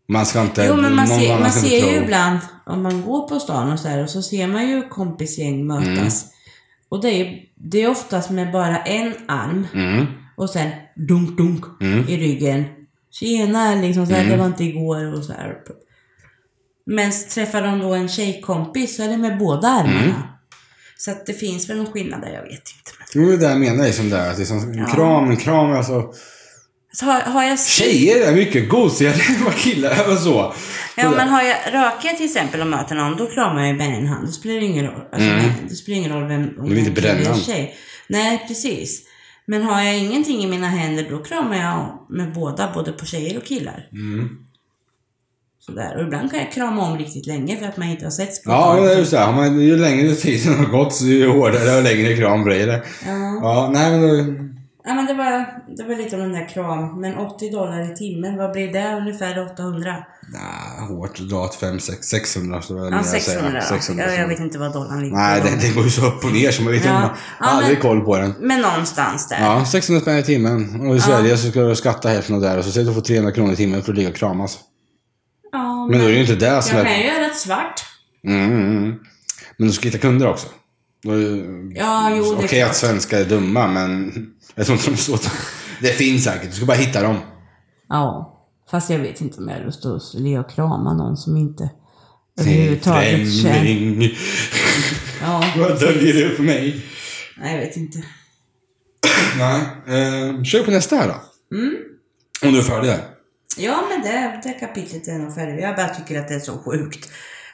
Man ska inte...
Jo men man
någon
ser,
annan
man
ska inte
ser ju
tro.
ibland, om man går på stan och så här, och så ser man ju kompisgäng mötas.
Mm.
Och det är, ju- det är oftast med bara en arm
Mm,
och sen dunk dunk
mm.
i ryggen. Tjena liksom, så här,
Mm.
det var inte igår och så här. Men träffar de då en tjejkompis så är det med båda armarna.
Mm.
Så att det finns väl någon skillnad där, jag vet inte. Men...
Jo, det är det jag menar liksom där. Att liksom, en
Ja.
kram, en kram alltså.
Så har, har jag...
Tjejer är mycket gosigare än vad killar är alltså. och så.
Ja, men har jag, röker jag till exempel och möter någon, då kramar jag ju med en hand. Det spelar ju ingen roll. Alltså,
Mm.
nej, Det spelar ingen roll vem... Om
Du vill inte
det är en kille eller
bränna.
tjej. Nej, precis. Men har jag ingenting i mina händer, då kramar jag med båda, både på tjejer och killar.
Mm.
Sådär. Och ibland kan jag krama om riktigt länge för att man inte har setts på ett
Ja,
tag.
men det är ju så här. Men ju längre tiden har gått, så ju hårdare och längre kram blir det.
Ja.
Ja, nej men... då-
Ja, men det var, det var lite om den där kram. Men 80 dollar i timmen, vad blir det? Ungefär 800?
Nej, hårt dra åt 5, 6, 600 så var det
Ja,
mer att säga.
600.
600,
ja, jag
så-
vet inte vad dollarn ligger
Nej,
på.
det, det går ju så upp och ner så man vet
Ja.
inte. Man
Ja,
har aldrig
men-
koll på den.
Men någonstans där.
Ja, 600 spänn i timmen. Och i Sverige så ska du skatta hälften av det här och så säger du får 300 kronor i timmen för att ligga och kramas.
Ja,
Men då är det ju inte det som
Jag kan
är...
ju göra ett svart.
Mm, mm, mm. Men du ska hitta kunder också. Då är ju-
Ja, Ah, jo, det är
Okej att
klart.
svenskar är dumma, men jag tror inte de är så dumma. Det finns säkert, du ska bara hitta dem.
Ja, fast jag vet inte om jag har lust att ligga och krama någon som inte
Främling.
överhuvudtaget känner... Ja,
Vad döljer du för mig?
nej, jag vet inte.
Nej. Eh, kör på nästa här då.
Mm.
Om du är färdig där.
Ja, men det, det kapitlet är nog färdigt. Jag bara tycker att det är så sjukt.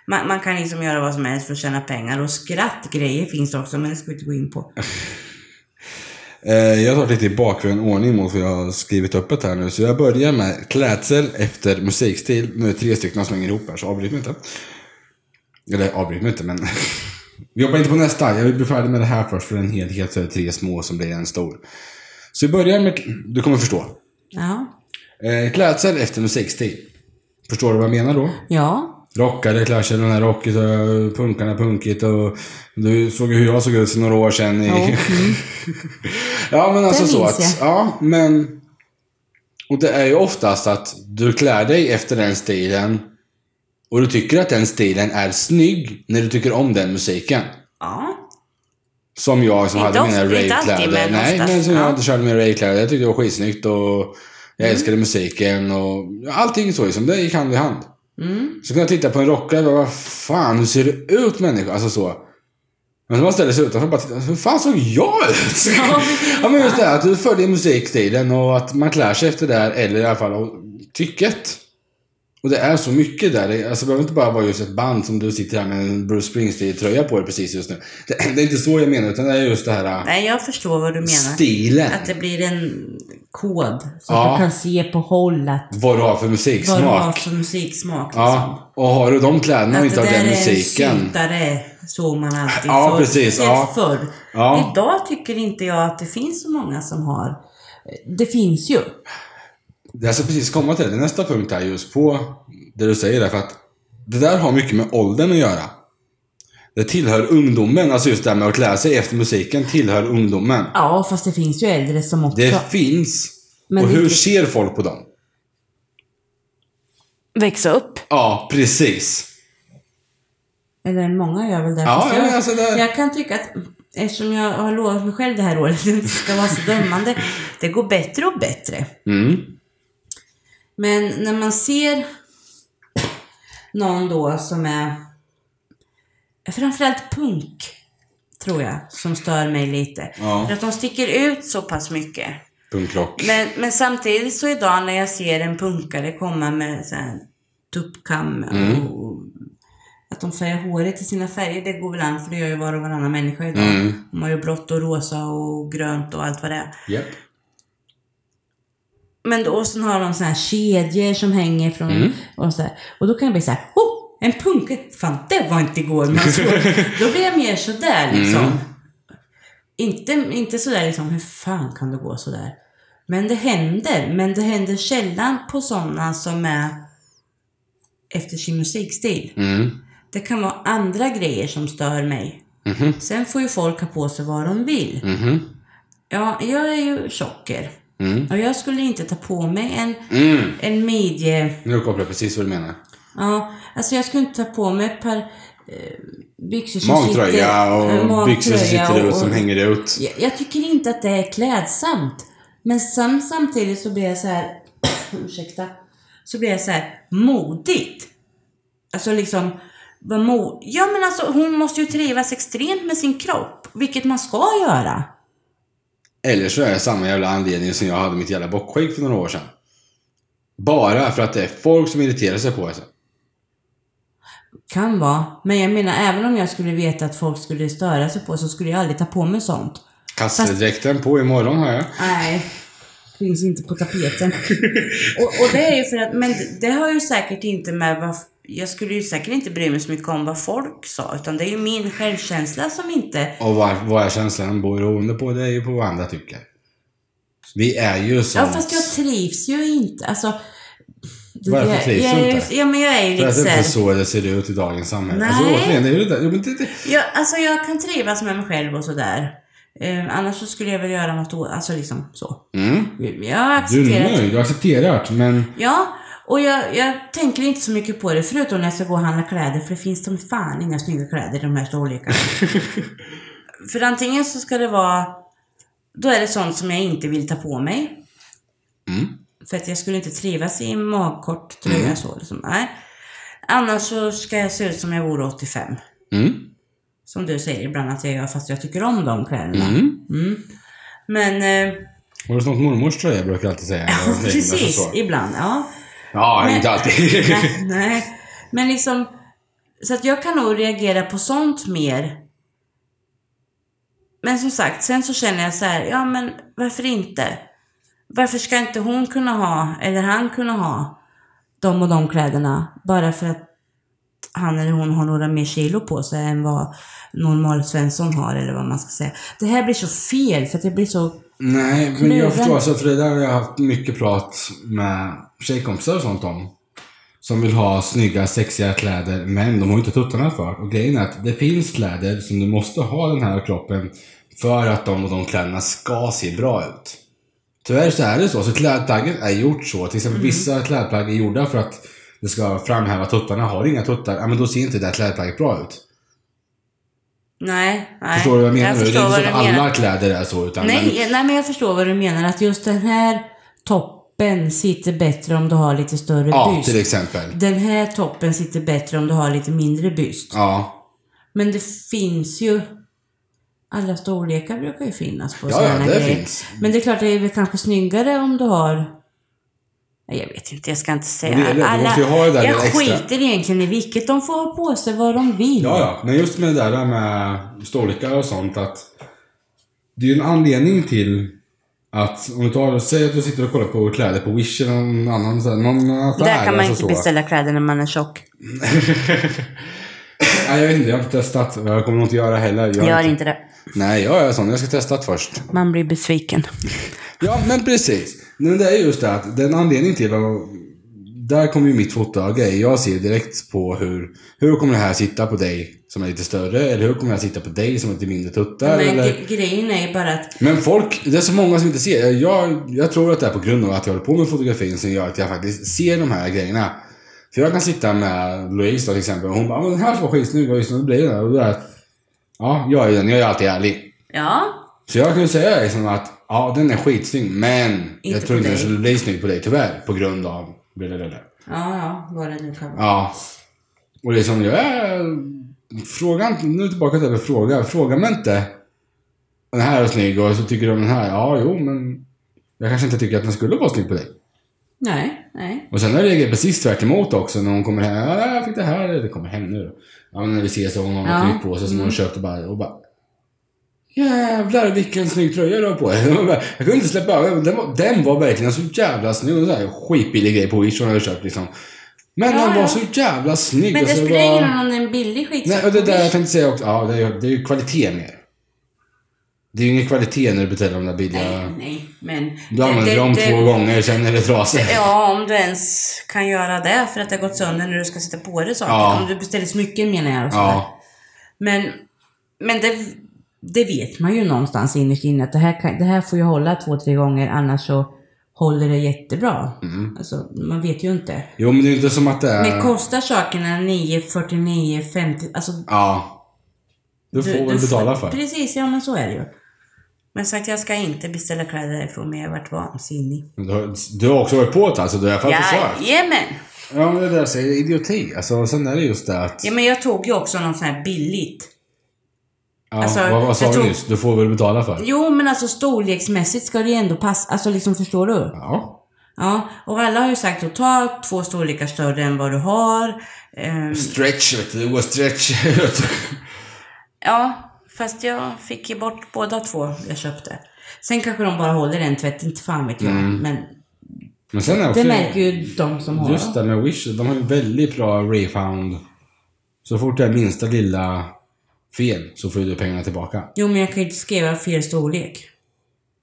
Man, man kan liksom göra vad som helst för att tjäna pengar och skrattgrejer finns också, men det ska vi inte gå in på.
Eh, jag tar lite i bakgrund ordning mot vad jag har skrivit upp det här nu. Så jag börjar med klädsel efter musikstil. Nu är det tre stycken som hänger ihop här, så avbryt mig inte. Eller avbryt mig inte, men... Vi jobbar inte på nästa. Jag vill bli färdig med det här först, för en helhet så är det tre små som blir en stor. Så vi börjar med... Du kommer förstå.
Ja.
Eh, klädsel efter musikstil. Förstår du vad jag menar då?
Ja.
rockade Clash den här rockigt och punkarna punkigt och du såg ju hur jag såg ut för några år sedan. I...
Ja, mm.
ja men alltså
Det
så
minns
att, ja men. Och det är ju oftast att du klär dig efter den stilen och du tycker att den stilen är snygg när du tycker om den musiken.
ja.
Som jag som
Inte
hade mina
ofta- inte alltid,
ravekläder.
men
Nej,
oftast,
men som
ja. Mm.
jag hade körde mina ravekläder. Jag tyckte det var skitsnyggt och jag älskade musiken och allting så liksom. Det gick hand i hand.
Mm.
Så kunde jag titta på en rockare och bara, vad fan, hur ser det ut människa? Alltså så. Men så man ställer sig utanför och bara tittar, hur fan såg jag ut?
Ja,
ja men just det här att du följer musikstilen och att man klär sig efter det här, eller i alla fall av tycket. Och det är så mycket där. Det- Alltså det behöver inte bara vara just ett band som du sitter här med en Bruce Springsteen-tröja på dig precis just nu. Det, det är inte så jag menar, utan det är just det här
Nej, jag förstår vad du menar.
stilen.
Att det blir en kod. Så Så
Ja.
att du kan se på håll att
Vad du har för
vad du har
musiksmak.
för musiksmak. liksom.
Ja, och har du de kläderna
Att
och inte har
det Alltså, där är
den
en
musiken.
syntare, såg man alltid
Ja,
förr.
precis,
Speciellt
ja.
förr.
Ja.
Idag tycker inte jag att det finns så många som har... Det finns ju.
Jag ska precis komma till det. Nästa punkt är just på det du säger där, för att det där har mycket med åldern att göra. Det tillhör ungdomen, alltså just det här med att klä sig efter musiken tillhör ungdomen.
Ja, fast det finns ju äldre som också...
Det finns.
Men
och
det-
hur ser folk på dem?
Växa upp.
Ja, precis.
Eller många gör väl det.
Ja,
fast
ja,
jag,
alltså det-
jag kan tycka att eftersom jag har lovat mig själv det här året att jag inte ska vara så dömande. Det går bättre och bättre.
Mm.
Men när man ser någon då som är framförallt punk tror jag, som stör mig lite.
Ja.
För att de sticker ut så pass mycket.
Punkrock.
Men, men samtidigt så idag när jag ser en punkare komma med så här tuppkam och att de färgar håret i sina färger, det går väl an för det gör ju var och varannan människa idag.
Mm.
De har ju blått och rosa och grönt och allt vad det är.
Japp.
Men då, och sen har de så här kedjor som hänger från...
Mm.
Och, så här, och då kan jag bli så här, oh, en punk! Fan, det var inte igår man såg. då blir jag mer sådär
Mm.
liksom. Inte, inte sådär liksom, hur fan kan det gå sådär? Men det händer. Men det händer sällan på sådana som är efter sin musikstil.
Mm.
Det kan vara andra grejer som stör mig.
Mhm.
Sen får ju folk ha på sig vad de vill.
Mhm.
Ja, jag är ju tjocker.
Mm.
Och jag skulle inte ta på mig en
Mm.
en midje...
Nu kopplar jag precis vad du menar.
Ja, alltså jag skulle inte ta på mig ett par eh, byxor som
Magtröja
sitter... eh,
och
magtröja
byxor som sitter ut som hänger ut.
Jag, jag tycker inte att det är klädsamt. Men sam, samtidigt så blir jag så här... ursäkta. Så blir jag så här modigt. Alltså liksom... vad Mo- ja men alltså hon måste ju trivas extremt med sin kropp. Vilket man ska göra.
Eller så är det samma jävla anledning som jag hade mitt jävla bockskägg för några år sedan. Bara för att det är folk som irriterar sig på det.
Kan vara. Men jag menar även om jag skulle veta att folk skulle störa sig på så skulle jag aldrig ta på mig sånt.
Kastledräkten på imorgon har jag.
Nej. Finns inte på tapeten. och, och det är ju för att, men det- det har ju säkert inte med vad, jag skulle ju säkert inte bry mig så mycket om vad folk sa, utan det är ju min självkänsla som inte,
Och vad, vad är känslan beroende på? Det är ju på vad andra tycker. Vi är ju som...
ja fast jag trivs ju inte, alltså.
Varför
jag,
trivs
jag,
du
är ju-
inte?
Ja men jag är ju
För
lite
att det är
såhär,
inte så det ser ut i dagens samhälle.
Nej.
Alltså återigen, det är ju det där. Jo, men det, det.
jag, alltså jag kan trivas med mig själv och sådär. Eh, annars så skulle jag väl göra något, å- alltså liksom så.
Mm.
Jag
Du
accepterar
är nöjd, du accepterar det. Men
Ja, och jag, jag tänker inte så mycket på det förutom när jag ska gå och handla kläder för det finns som fan inga snygga kläder i de här storlekarna. för antingen så ska det vara, då är det sånt som jag inte vill ta på mig.
Mm.
För att jag skulle inte trivas i en magkort tröja så liksom. Nej. Annars så ska jag se ut som jag vore 85.
mm.
Som du säger ibland att jag gör fast jag tycker om de kläderna.
Mm.
Men, eh,
Har du snott mormors tröja brukar jag alltid säga. Eller någonting, men så
precis,
så.
ibland. Ja.
Ja,
Men-
inte alltid.
nej, nej. Men liksom, så att jag kan nog reagera på sånt mer. Men som sagt, sen så känner jag så här, ja men varför inte? Varför ska inte hon kunna ha, eller han kunna ha, de och de kläderna? Bara för att han eller hon har några mer kilo på sig än vad normal Svensson har, eller vad man ska säga. Det här blir så fel, för att det blir så...
Nej, men
Kluven.
jag förstår. Så för det där har jag haft mycket prat med tjejkompisar och sånt om. Som vill ha snygga, sexiga kläder, men de har ju inte tuttarna för. Och grejen är att det finns kläder som du måste ha den här kroppen för att de och de kläderna ska se bra ut. Tyvärr så är det så. Så klädplaggen är gjort så. Till
Mm.
exempel vissa klädplagg är gjorda för att det ska framhäva tuttarna. Har du inga tuttar, ja men då ser inte det här klädplagget bra ut.
Nej, nej.
Förstår du vad jag menar? nu? det är
förstår
inte
vad
så
du
att alla
menar.
kläder är så. Utan men-
Nej, jag- nej, men jag förstår vad du menar. Att just den här toppen sitter bättre om du har lite större
ja,
byst.
till exempel.
Den här toppen sitter bättre om du har lite mindre byst.
Ja.
Men det finns ju... Alla storlekar brukar ju finnas på
Ja,
sådana
ja, det
grejer.
finns.
Men det är klart, det är väl kanske snyggare om du har... Nej, jag vet inte, jag ska inte säga.
Men det är det, du måste ju ha det
jag
där lilla extra.
skiter egentligen i vilket. De får ha på sig vad de vill.
Ja, ja. Men just med det där med storlekar och sånt att det är ju en anledning till att om du tar, säg att du sitter och kollar på kläder på Wish eller någon annan så här, någon affär.
Där kan man
alltså
inte
så.
beställa kläder när man är tjock.
Nej, jag vet inte. Jag har inte testat. Jag kommer nog inte göra heller. Jag
Gör inte det.
Nej, jag är sån. Jag ska testa det först.
Man blir besviken.
Ja, men precis. Men det är just det att den anledningen till att... Där kommer ju mitt foto av grejer. Jag ser direkt på hur... Hur kommer det här sitta på dig som är lite större? Eller hur kommer det här sitta på dig som är lite mindre tuttar?
Men
eller...
gre- grejen är ju bara att
Men folk, det är så många som inte ser. Jag, jag tror att det är på grund av att jag håller på med fotografin som gör att jag faktiskt ser de här grejerna. För jag kan sitta med Louise då, till exempel och hon bara "Men 'Den här ska vara skitsnygg' och just nu blir den här." och det där. Ja, jag är den. Jag är alltid ärlig.
Ja,
Så jag kan ju säga liksom att ja, den är skitsnygg men jag
på
tror inte den
dig.
skulle bli snygg på dig tyvärr på grund av... blablabla."
ja, ja, vad det nu kan vara.
Ja. Och liksom, jag är Frågan, nu tillbaka till det här med fråga. Frågar man inte den här är snygg och så tycker du om den här. Ja, jo, men jag kanske inte tycker att den skulle vara snygg på dig.
Nej, nej.
Och sen har jag reagerat precis tvärt emot också när hon kommer hem. Ja, jag fick det här. Det kommer hem nu då. Ja, men när vi ses så har hon något
Ja. Mm.
nytt på sig som hon köpte bara. Och bara Jävlar vilken snygg tröja du har på dig. Jag bara, Jag kunde inte släppa över. Den var, den var verkligen så jävla snygg. Och så här skitbillig grej på Wish hon hade köpt liksom. Men
Ja,
den var
ja.
så jävla snygg.
Men det
och så
spelar ingen
bara-
roll om det är en billig skitsak.
Nej, och det där jag tänkte säga också. Ja, det är ju, det är ju kvalitet mer. Det är ju ingen kvalitet när du beställer de där
Nej,
billiga.
nej, men...
Du använder dem två gånger, sen är det trasigt.
Ja, om du ens kan göra det för att det har gått sönder när du ska sätta på dig saker.
Ja.
Om du beställer smycken menar jag. Och sådär.
Ja.
Men, men det, det vet man ju någonstans innerst inne att det här, kan, det här får jag hålla två, tre gånger annars så håller det jättebra. Mm. Alltså, man vet ju inte.
Jo, men det är ju inte som att det är...
Men kostar sakerna 9, 49, 50, alltså...
Ja. Du får väl betala för.
Precis, ja men så är det ju. Men sagt, jag ska inte beställa kläder därifrån, men jag har varit vansinnig.
Men Du har, du har också varit på det alltså, du har i alla fall försökt.
Jajamän!
Ja, men det där jag säger idioti. Alltså, sen är det just det att...
Ja, men jag tog ju också någon sån här billigt.
Ja,
alltså,
vad, vad sa
jag
du
tror-
nyss? Du får väl betala för.
Jo, men alltså storleksmässigt ska det ju ändå passa. Alltså liksom, förstår du?
Ja.
Ja, och alla har ju sagt att ta två storlekar större än vad du har. Ehm,
Stretch, vet du. Det går stretch. vet du.
ja, fast jag fick ju bort båda två jag köpte. Sen kanske de bara håller en tvätt, inte fan vet jag.
Mm.
Men
men sen är också...
det märker ju de som har.
Just det med Wish, de har ju väldigt bra refund. Så fort det är minsta lilla fel så får du pengarna tillbaka.
Jo, men jag kan ju inte skriva fel storlek.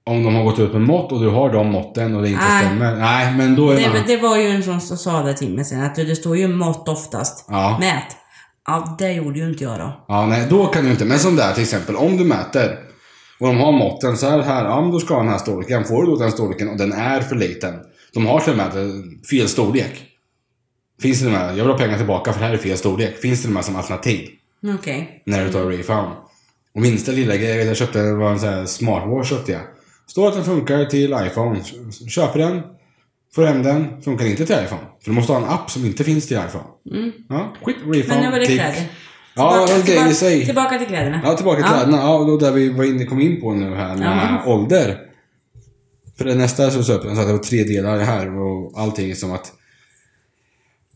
Om de har gått ut med mått och du har de måtten och det inte
Nej.
stämmer. Nej, men då är
Det,
man...
men det var ju en sån som sa det till mig sen, att det står ju mått oftast.
Ja.
Mät. Ja, det gjorde ju inte jag då.
Ja, nej, då kan du inte. Men som där till exempel, om du mäter och de har måtten så här, här ja, men då ska ha den här storleken. Får du då den storleken och den är för liten. De har till och med eh, fel storlek. Finns det de här, jag vill ha pengar tillbaka för det här är fel storlek. Finns det de här som alternativ
Okej.
när du tar
Mm.
refund? Och minsta lilla grej, jag vet jag köpte det var en sån här smartwatch köpte jag. Står att den funkar till iPhone. Köper den, får hem den, funkar inte till iPhone. För du måste ha en app som inte finns till iPhone. Ja, skit, refund,
Mm. Men nu var det
klick.
kläder.
Ja, det var en grej i
tillbaka,
sig.
tillbaka till kläderna.
Ja, tillbaka till kläderna. Ja, och då där vi var inne, kom in på nu här med ålder. För det nästa så upp den så att det var tre delar här och allting är som att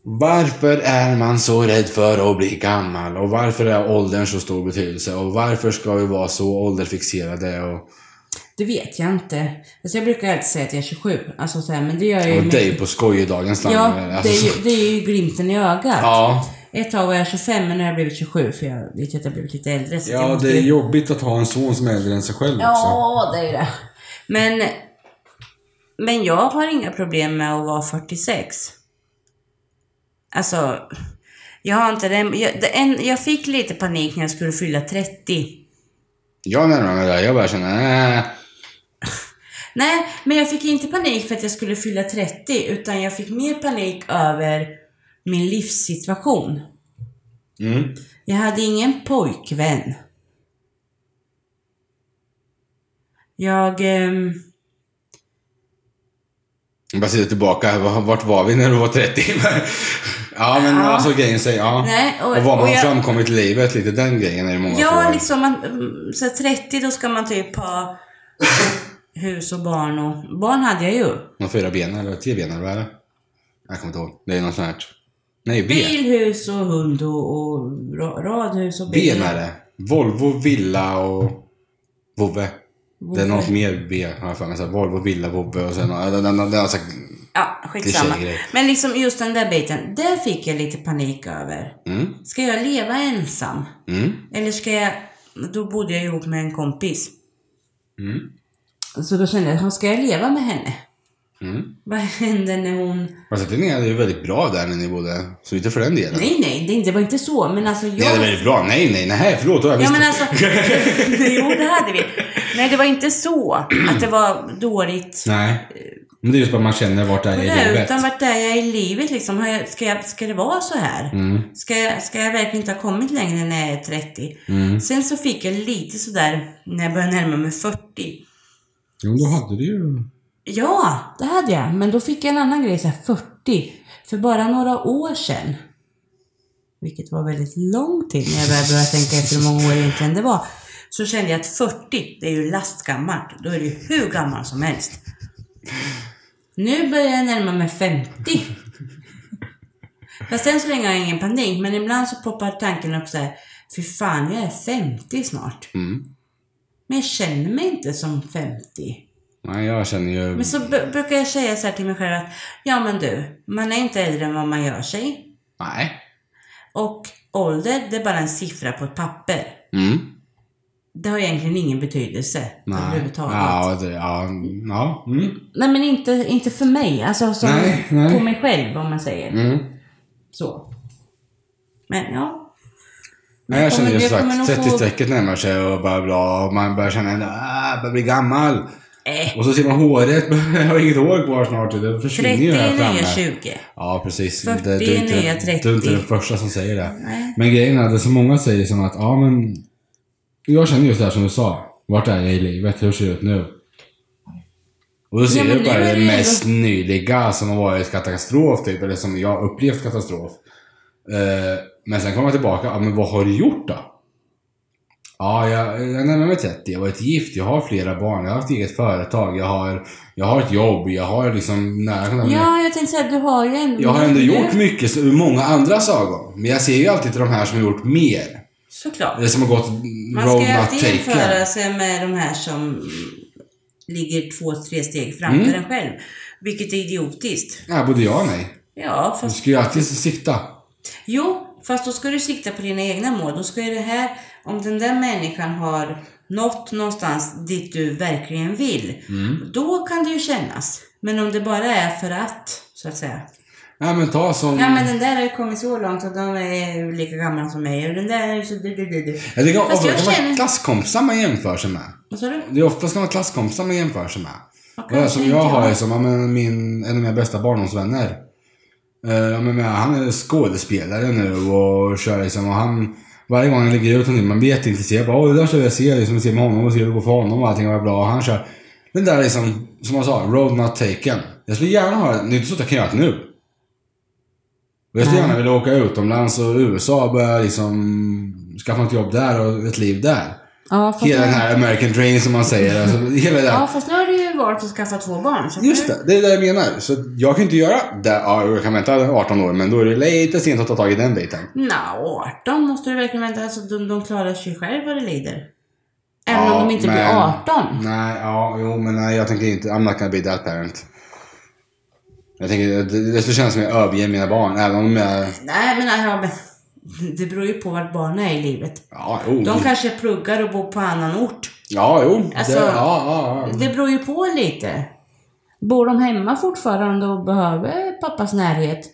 varför är man så rädd för att bli gammal? Och varför är åldern så stor betydelse? Och varför ska vi vara så ålderfixerade? Och,
Det vet jag inte. Alltså jag brukar alltid säga att jag är 27. Alltså så här, men det gör jag ju...
och
med-
det är ju på skoj i dagens land.
Ja,
Alltså,
det är,
så-
ju, det är ju glimten i ögat.
ja.
Ett tag var jag 25, men nu har jag blivit 27 för jag vet ju att jag har blivit lite äldre. Så att jag
ja,
måste
det är
ju...
jobbigt att ha en son som är äldre än sig själv också.
Ja, det är ju det. Men, men jag har inga problem med att vara 46. Alltså, jag har inte den... Jag, det, en, jag fick lite panik när jag skulle fylla 30.
Jag närmar mig det. här. Jag bara känner, äh,
Nej, men jag fick inte panik för att jag skulle fylla 30, utan jag fick mer panik över min livssituation.
mm.
Jag hade ingen pojkvän. Jag... ehm,
Jag bara sitter tillbaka, Va- vart var vi när du var 30? ja men
Ja.
alltså grejen säger, ja.
Nej, och-
och, vad man
och jag-
framkommit i livet, lite den grejen är det många
ja,
frågor.
liksom... att, mm, Så här 30, då ska man typ ha hus och barn och... Barn hade jag ju.
Någon fyra ben eller tre ben eller vad är det? Jag kommer inte ihåg, det är något sånt här. Nej, ben.
Bil, hus och hund och, och ra- radhus och
Ben är det. Volvo, villa och vovve. Det är
Vovve.
något mer B har jag för mig. Så här, Volvo, villa, vovve och sen... ja, Den, den, den, den, alltså,
Ja, skitsamma.
Klichégrej.
Men liksom just den där biten, där fick jag lite panik över.
mm,
Ska jag leva ensam?
mm.
Eller ska jag... Då bodde jag ihop med en kompis.
Mm.
Så då kände jag, ska jag leva med henne?
Mm.
Vad händer när hon...
Fast det är ju väldigt bra där när ni bodde. Så inte för den delen.
Nej, nej, det, är inte- det var inte så. Men alltså jag...
Ni hade väldigt bra. Nej, nej, nej. Förlåt, då har jag
Ja
visst-
men alltså, jo det hade vi. Nej det var inte så att det var dåligt.
Nej. Men det är just bara man känner vart det är i
Nej,
livet.
utan vart är jag i livet liksom? Har jag, ska, jag, ska det vara så här?
Mm.
Ska, jag, ska jag verkligen inte ha kommit längre när jag är 30?
Mm.
Sen så fick jag lite sådär när jag började närma mig 40.
Jo, då hade du ju...
Ja, det hade jag. Men då fick jag en annan grej, så här 40. För bara några år sedan vilket var väldigt lång tid när jag började börja tänka efter hur många år egentligen det var, så kände jag att 40, det är ju lastgammalt. Då är det ju hur gammal som helst. Nu börjar jag närma mig 50. Fast än så länge har jag ingen panik, men ibland så poppar tanken upp så här, fy fan, jag är 50 snart.
Mm.
Men jag känner mig inte som 50.
Nej, jag känner ju...
Men så b- brukar jag säga så här till mig själv att, ja men du, man är inte äldre än vad man gör sig.
Nej.
Och ålder, det är bara en siffra på ett papper.
Mm.
Det har egentligen ingen betydelse
Nej.
överhuvudtaget.
Ja, det, ja, mm, ja. Mm.
Nej men inte, inte för mig, alltså som
Nej, nej.
på mig själv om man säger.
Mm.
Så. Men ja.
Nej, jag känner ju
kommer-
som
jag
sagt,
kommer nog få-
30-strecket närmar sig och bara bla, och man börjar känna att ah, jag börjar bli gammal.
Äh,
Och så ser man håret, jag har inget hår kvar snart, det försvinner
30
ju här
är nya
framme.
20.
Ja, precis.
40
Det- du, är inte,
nya 30.
du är inte den första som säger det.
Nej.
Men grejen är, det som många säger som att, ja men... Jag känner just det här som du sa. Vart är jag i livet? Hur ser det ut nu? Och då ser
men
du bara
nu är
det
det ju-
mest nyliga som har varit katastrof, typ. Eller som jag upplevt katastrof. Eh, men sen kommer jag tillbaka, ja men vad har du gjort då? Ja, jag, jag närmar mig 30. Jag har varit gift, jag har flera barn, jag har haft eget företag, jag har, jag har ett jobb, jag har liksom nära kontakt med
Ja, jag tänkte säga, du har ju ändå...
jag har ändå
du-
gjort mycket så- ur många andras ögon. Men jag ser ju alltid till de här som har gjort mer.
Såklart.
Eller som har gått
Man
road
ska ju
not
alltid jämföra
taken.
sig med de här som ligger två, tre steg framför
Mm.
en själv. Vilket är idiotiskt.
Ja, både jag och nej.
Ja,
Du
fast,
ska ju alltid sikta.
jo, fast då ska du sikta på dina egna mål. Då ska ju det här, om den där människan har nått någonstans dit du verkligen vill,
Mm.
då kan det ju kännas. Men om det bara är för att, så att säga.
Ja, men ta som...
Ja, men den där har ju kommit så långt att de är ju lika gamla som mig och den där är ju så... Du, du, du, du.
Jag tycker
Fast
ofta
jag
kan vara
känner-
klasskompisar man jämför sig med.
Vad sa du?
Det är oftast kan vara klasskompisar man jämför sig med.
Vad
Och det som
kanske
jag
inte
har är som ja, men min, en av mina bästa barndomsvänner. Eh, ja, men men han är skådespelare nu och kör liksom och han varje gång han lägger ut någonting, man blir jätteintresserad. Bara, Åh, det där ska jag se, liksom, se med honom och se hur det går för honom och allting var bra. Och han kör den där liksom, som jag sa, road not taken. Jag skulle gärna ha det, det är inte så att jag kan göra det nu. Och Jag skulle gärna vilja åka utomlands och USA och börja liksom skaffa ett jobb där och ett liv där.
Ja, fast
Hela
nu-
den här American dream som man säger. Alltså, hela det här.
Ja, fast nu har du ju valt att skaffa två barn. Så
Just
nu,
det, det är det jag menar. Så att jag kan inte göra det. Ja, jag kan vänta 18 år, men då är det lite sent att ta tag i den biten.
Nja, 18 måste du verkligen vänta. Alltså, de, de klarar sig själva vad det lider. Även
Ja,
om de inte blir
men-
18.
Nej, ja, jo, men nej, jag tänker inte. I'm not gonna be that parent. Jag tänker, det, det skulle kännas som att jag överger mina barn, även om jag...
Nej, men, ja, men det beror ju på vart barnen är i livet.
Ja, jo.
De kanske pluggar och bor på annan ort.
Ja, jo.
Alltså-
det, ja, ja, ja.
Det beror ju på lite. Bor de hemma fortfarande och behöver pappas närhet?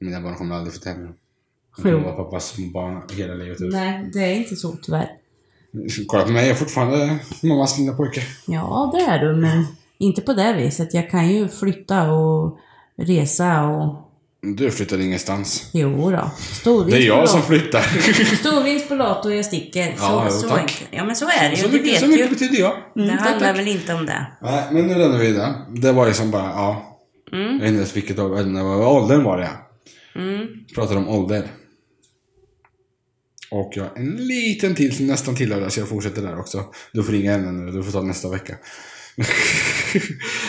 Mina barn kommer aldrig få tävla. De
Jo.
kommer vara pappas barn hela livet ut.
Nej, det är inte så tyvärr.
Kolla på mig, jag är fortfarande mammas lilla pojke.
Ja, det är du, men inte på det viset. Jag kan ju flytta och resa och
Du flyttar ingenstans.
Jo då. Storvinst
Det är
på
jag som
lotto.
flyttar.
Storvinst på lotto och jag sticker. Så,
Ja, jo,
så
tack.
enkelt. Ja, men så är det ju.
Så
Du
mycket,
vet
så mycket
ju.
betyder jag. Mm,
Det
tack, tack.
handlar väl inte om det.
Nej, men nu lämnar vi det. Det var liksom bara, ja. Jag vet inte ens vilket av- jag vet inte vad åldern var det.
Mm.
Pratade om ålder. Och jag har en liten till som nästan tillhör det, så jag fortsätter där också. Du får ringa henne nu, du får ta nästa vecka.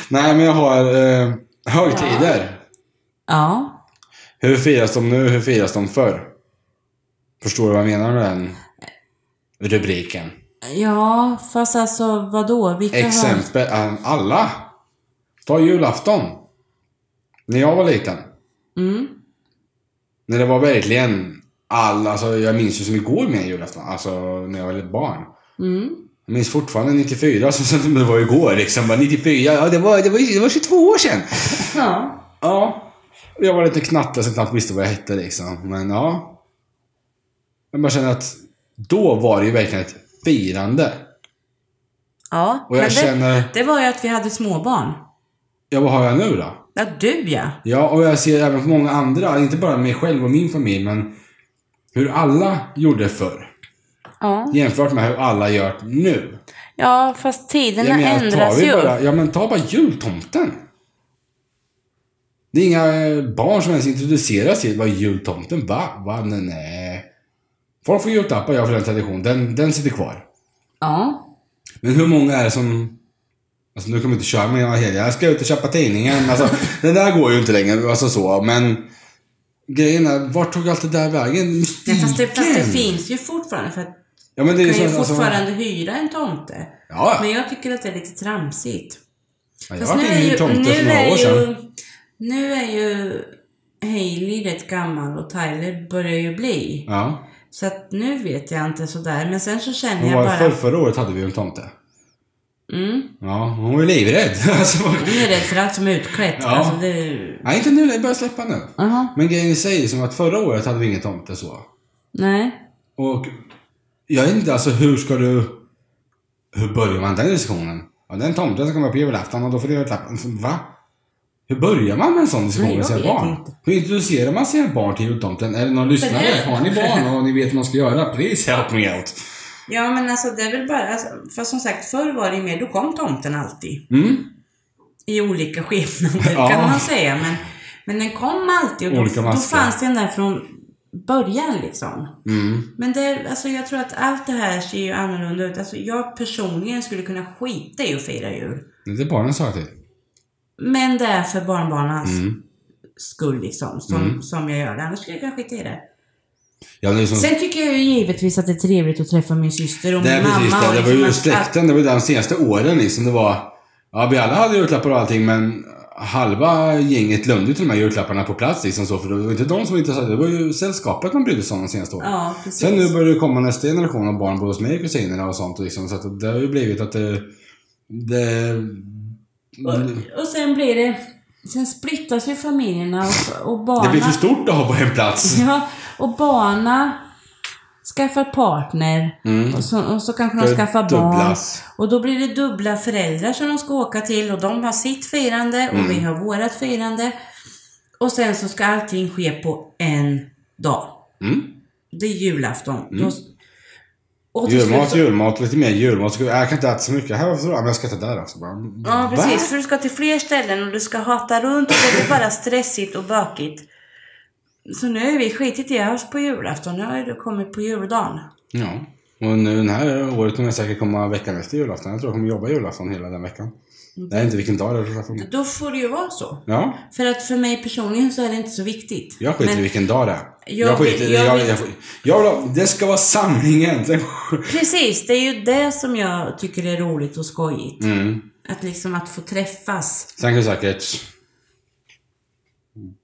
Nej, men jag har eh, högtider.
Ja.
Hur firas de nu, hur firas de förr? Förstår du vad jag menar med den
Eh.
rubriken?
Ja, fast alltså vadå? Vilka har-
Exempel, eh, alla. Ta julafton. När jag var liten.
Mm.
När det var verkligen alla, alltså jag minns ju som igår med julafton, alltså när jag var ett barn.
Mm.
Jag minns fortfarande 94, alltså, som det var igår liksom. Bara 94, ja det var, det var, det var 22 år sedan.
Ja.
Ja. Och Jag var lite knatte så jag knappt visste vad jag hette liksom. Men ja. Jag bara känner att då var det ju verkligen ett firande.
Ja,
Och jag
men det,
känner,
det var ju att vi hade småbarn.
ja vad har jag nu då?
Ja, du ja.
Ja, och jag ser även på många andra, inte bara mig själv och min familj, men hur alla gjorde förr
Ja,
jämfört med hur alla gör nu.
ja fast tiderna
Jag menar, tar
ändras
vi
ju.
bara, ja men ta bara jultomten. Det är inga eh, barn som ens introduceras till vad jultomten, va? Va? Nej, nej. Folk får julklappar, jag för den tradition. Den, den sitter kvar.
Ja.
Men hur många är det som... Alltså nu kommer jag inte köra med hela helgen. Jag ska ut och köpa tidningen. Alltså, det där går ju inte längre. Alltså så, men... Grejen är, vart tog allt det där vägen?
Nej, fast, det, fast det
Mystiken!
finns ju fortfarande. För att
Ja, men Mm. det är
man
ju
kan ju
så- alltså-
fortfarande hyra en tomte.
Ja,
Men jag tycker att det är lite tramsigt.
ja, jag
Fast
har
nu
varit
är
inne i
ju,
tomte för
nu
några år
är
sedan.
ju, nu är ju Hailey rätt gammal och Tyler börjar ju bli.
Ja.
Så att nu vet jag inte sådär. Men sen så känner
Hon
jag
var för,
bara...
förra året hade vi en tomte.
Mm,
Ja, hon var ju livrädd. Alltså,
hon är rädd för allt som är utklätt.
Ja.
Alltså det... är-
nej, inte nu. Det börjar släppa nu.
Jaha,
Men grejen i sig är som att förra året hade vi ingen tomte så.
nej.
Och jag vet inte, alltså hur ska du... Hur börjar man den diskussionen? Ja, den tomten som kommer på julafton och då får du göra ett lapp- alltså, Va? Hur börjar man med en sån diskussion
Nej,
med
jag
sina
vet
barn?
inte.
Hur introducerar man sina barn till jultomten? Är det någon lyssnare? Har ni barn och ni vet vad man ska göra? Please help me out.
Ja men alltså det är väl bara... Alltså, fast som sagt förr var det ju mer, då kom tomten alltid.
Mm?
I olika skepnader
Ja.
kan man säga. Men, men den kom alltid och
Olika
då, då
masker.
fanns den där från början liksom.
Mm.
Men det, alltså jag tror att allt det här ser ju annorlunda ut. Alltså jag personligen skulle kunna skita i att fira jul.
Det är typ. barnen sa till.
Men det är för barnbarnens
Mm.
skull liksom, som,
Mm.
som jag gör det. Annars skulle jag kunna skita i det.
Ja, det är som
Sen-
Sen tycker jag ju givetvis att det är trevligt att träffa min syster och
Det är
min
precis
mamma.
det.
och
Det var
liksom
ju
att-
släkten. Det var ju de senaste åren liksom. Det var... Ja, vi alla hade julklappar och allting men halva gänget glömde ju till de här julklapparna på plats liksom så. För det var ju inte de som var intresserade. Det var ju sällskapet man brydde sig om de senaste åren.
Ja, precis.
Sen nu börjar det komma nästa generation av barn både hos mig och kusinerna och sånt liksom. Så att det har ju blivit att det... Det...
och, och sen blir det... Sen splittas ju familjerna och, och
Det
barna...
blir för stort att ha på en plats.
Ja, och barna skaffar partner.
Mm.
Och, så, och så kanske de
Det
skaffar barn.
dubblas.
Och då blir det dubbla föräldrar som de ska åka till och de har sitt firande och vi
Mm.
har vårat firande. Och sen så ska allting ske på en dag.
Mm.
Det är julafton. Då, och till slut
Julmat,
så-
julmat, lite mer julmat. Så- Jag kan inte äta så mycket. Här, varför då? Ja, men jag ska äta där också. Bara,
Ja, precis.
va?
För du ska till fler ställen och du ska hata runt och det blir bara stressigt och bökigt. Så nu är vi skitit i oss på julafton. Nu har du kommit på juldagen.
Ja. Och nu den här året kommer jag säkert komma veckan efter julafton. Jag tror jag kommer jobba julafton hela den veckan.
Mm.
Nej, inte vilken dag det är julafton.
Då får det ju vara så.
Ja,
För att för mig personligen så är det inte så viktigt.
jag skiter i
Men-
vilken dag det är.
Jag
Jag skiter i
vill-
jag,
jag
jag,
vill-
jag, jag vill ha- Det ska vara samlingen. Sen-
Precis, det är ju det som jag tycker är roligt och skojigt.
Mm.
Att liksom att få träffas.
Sen kan säkert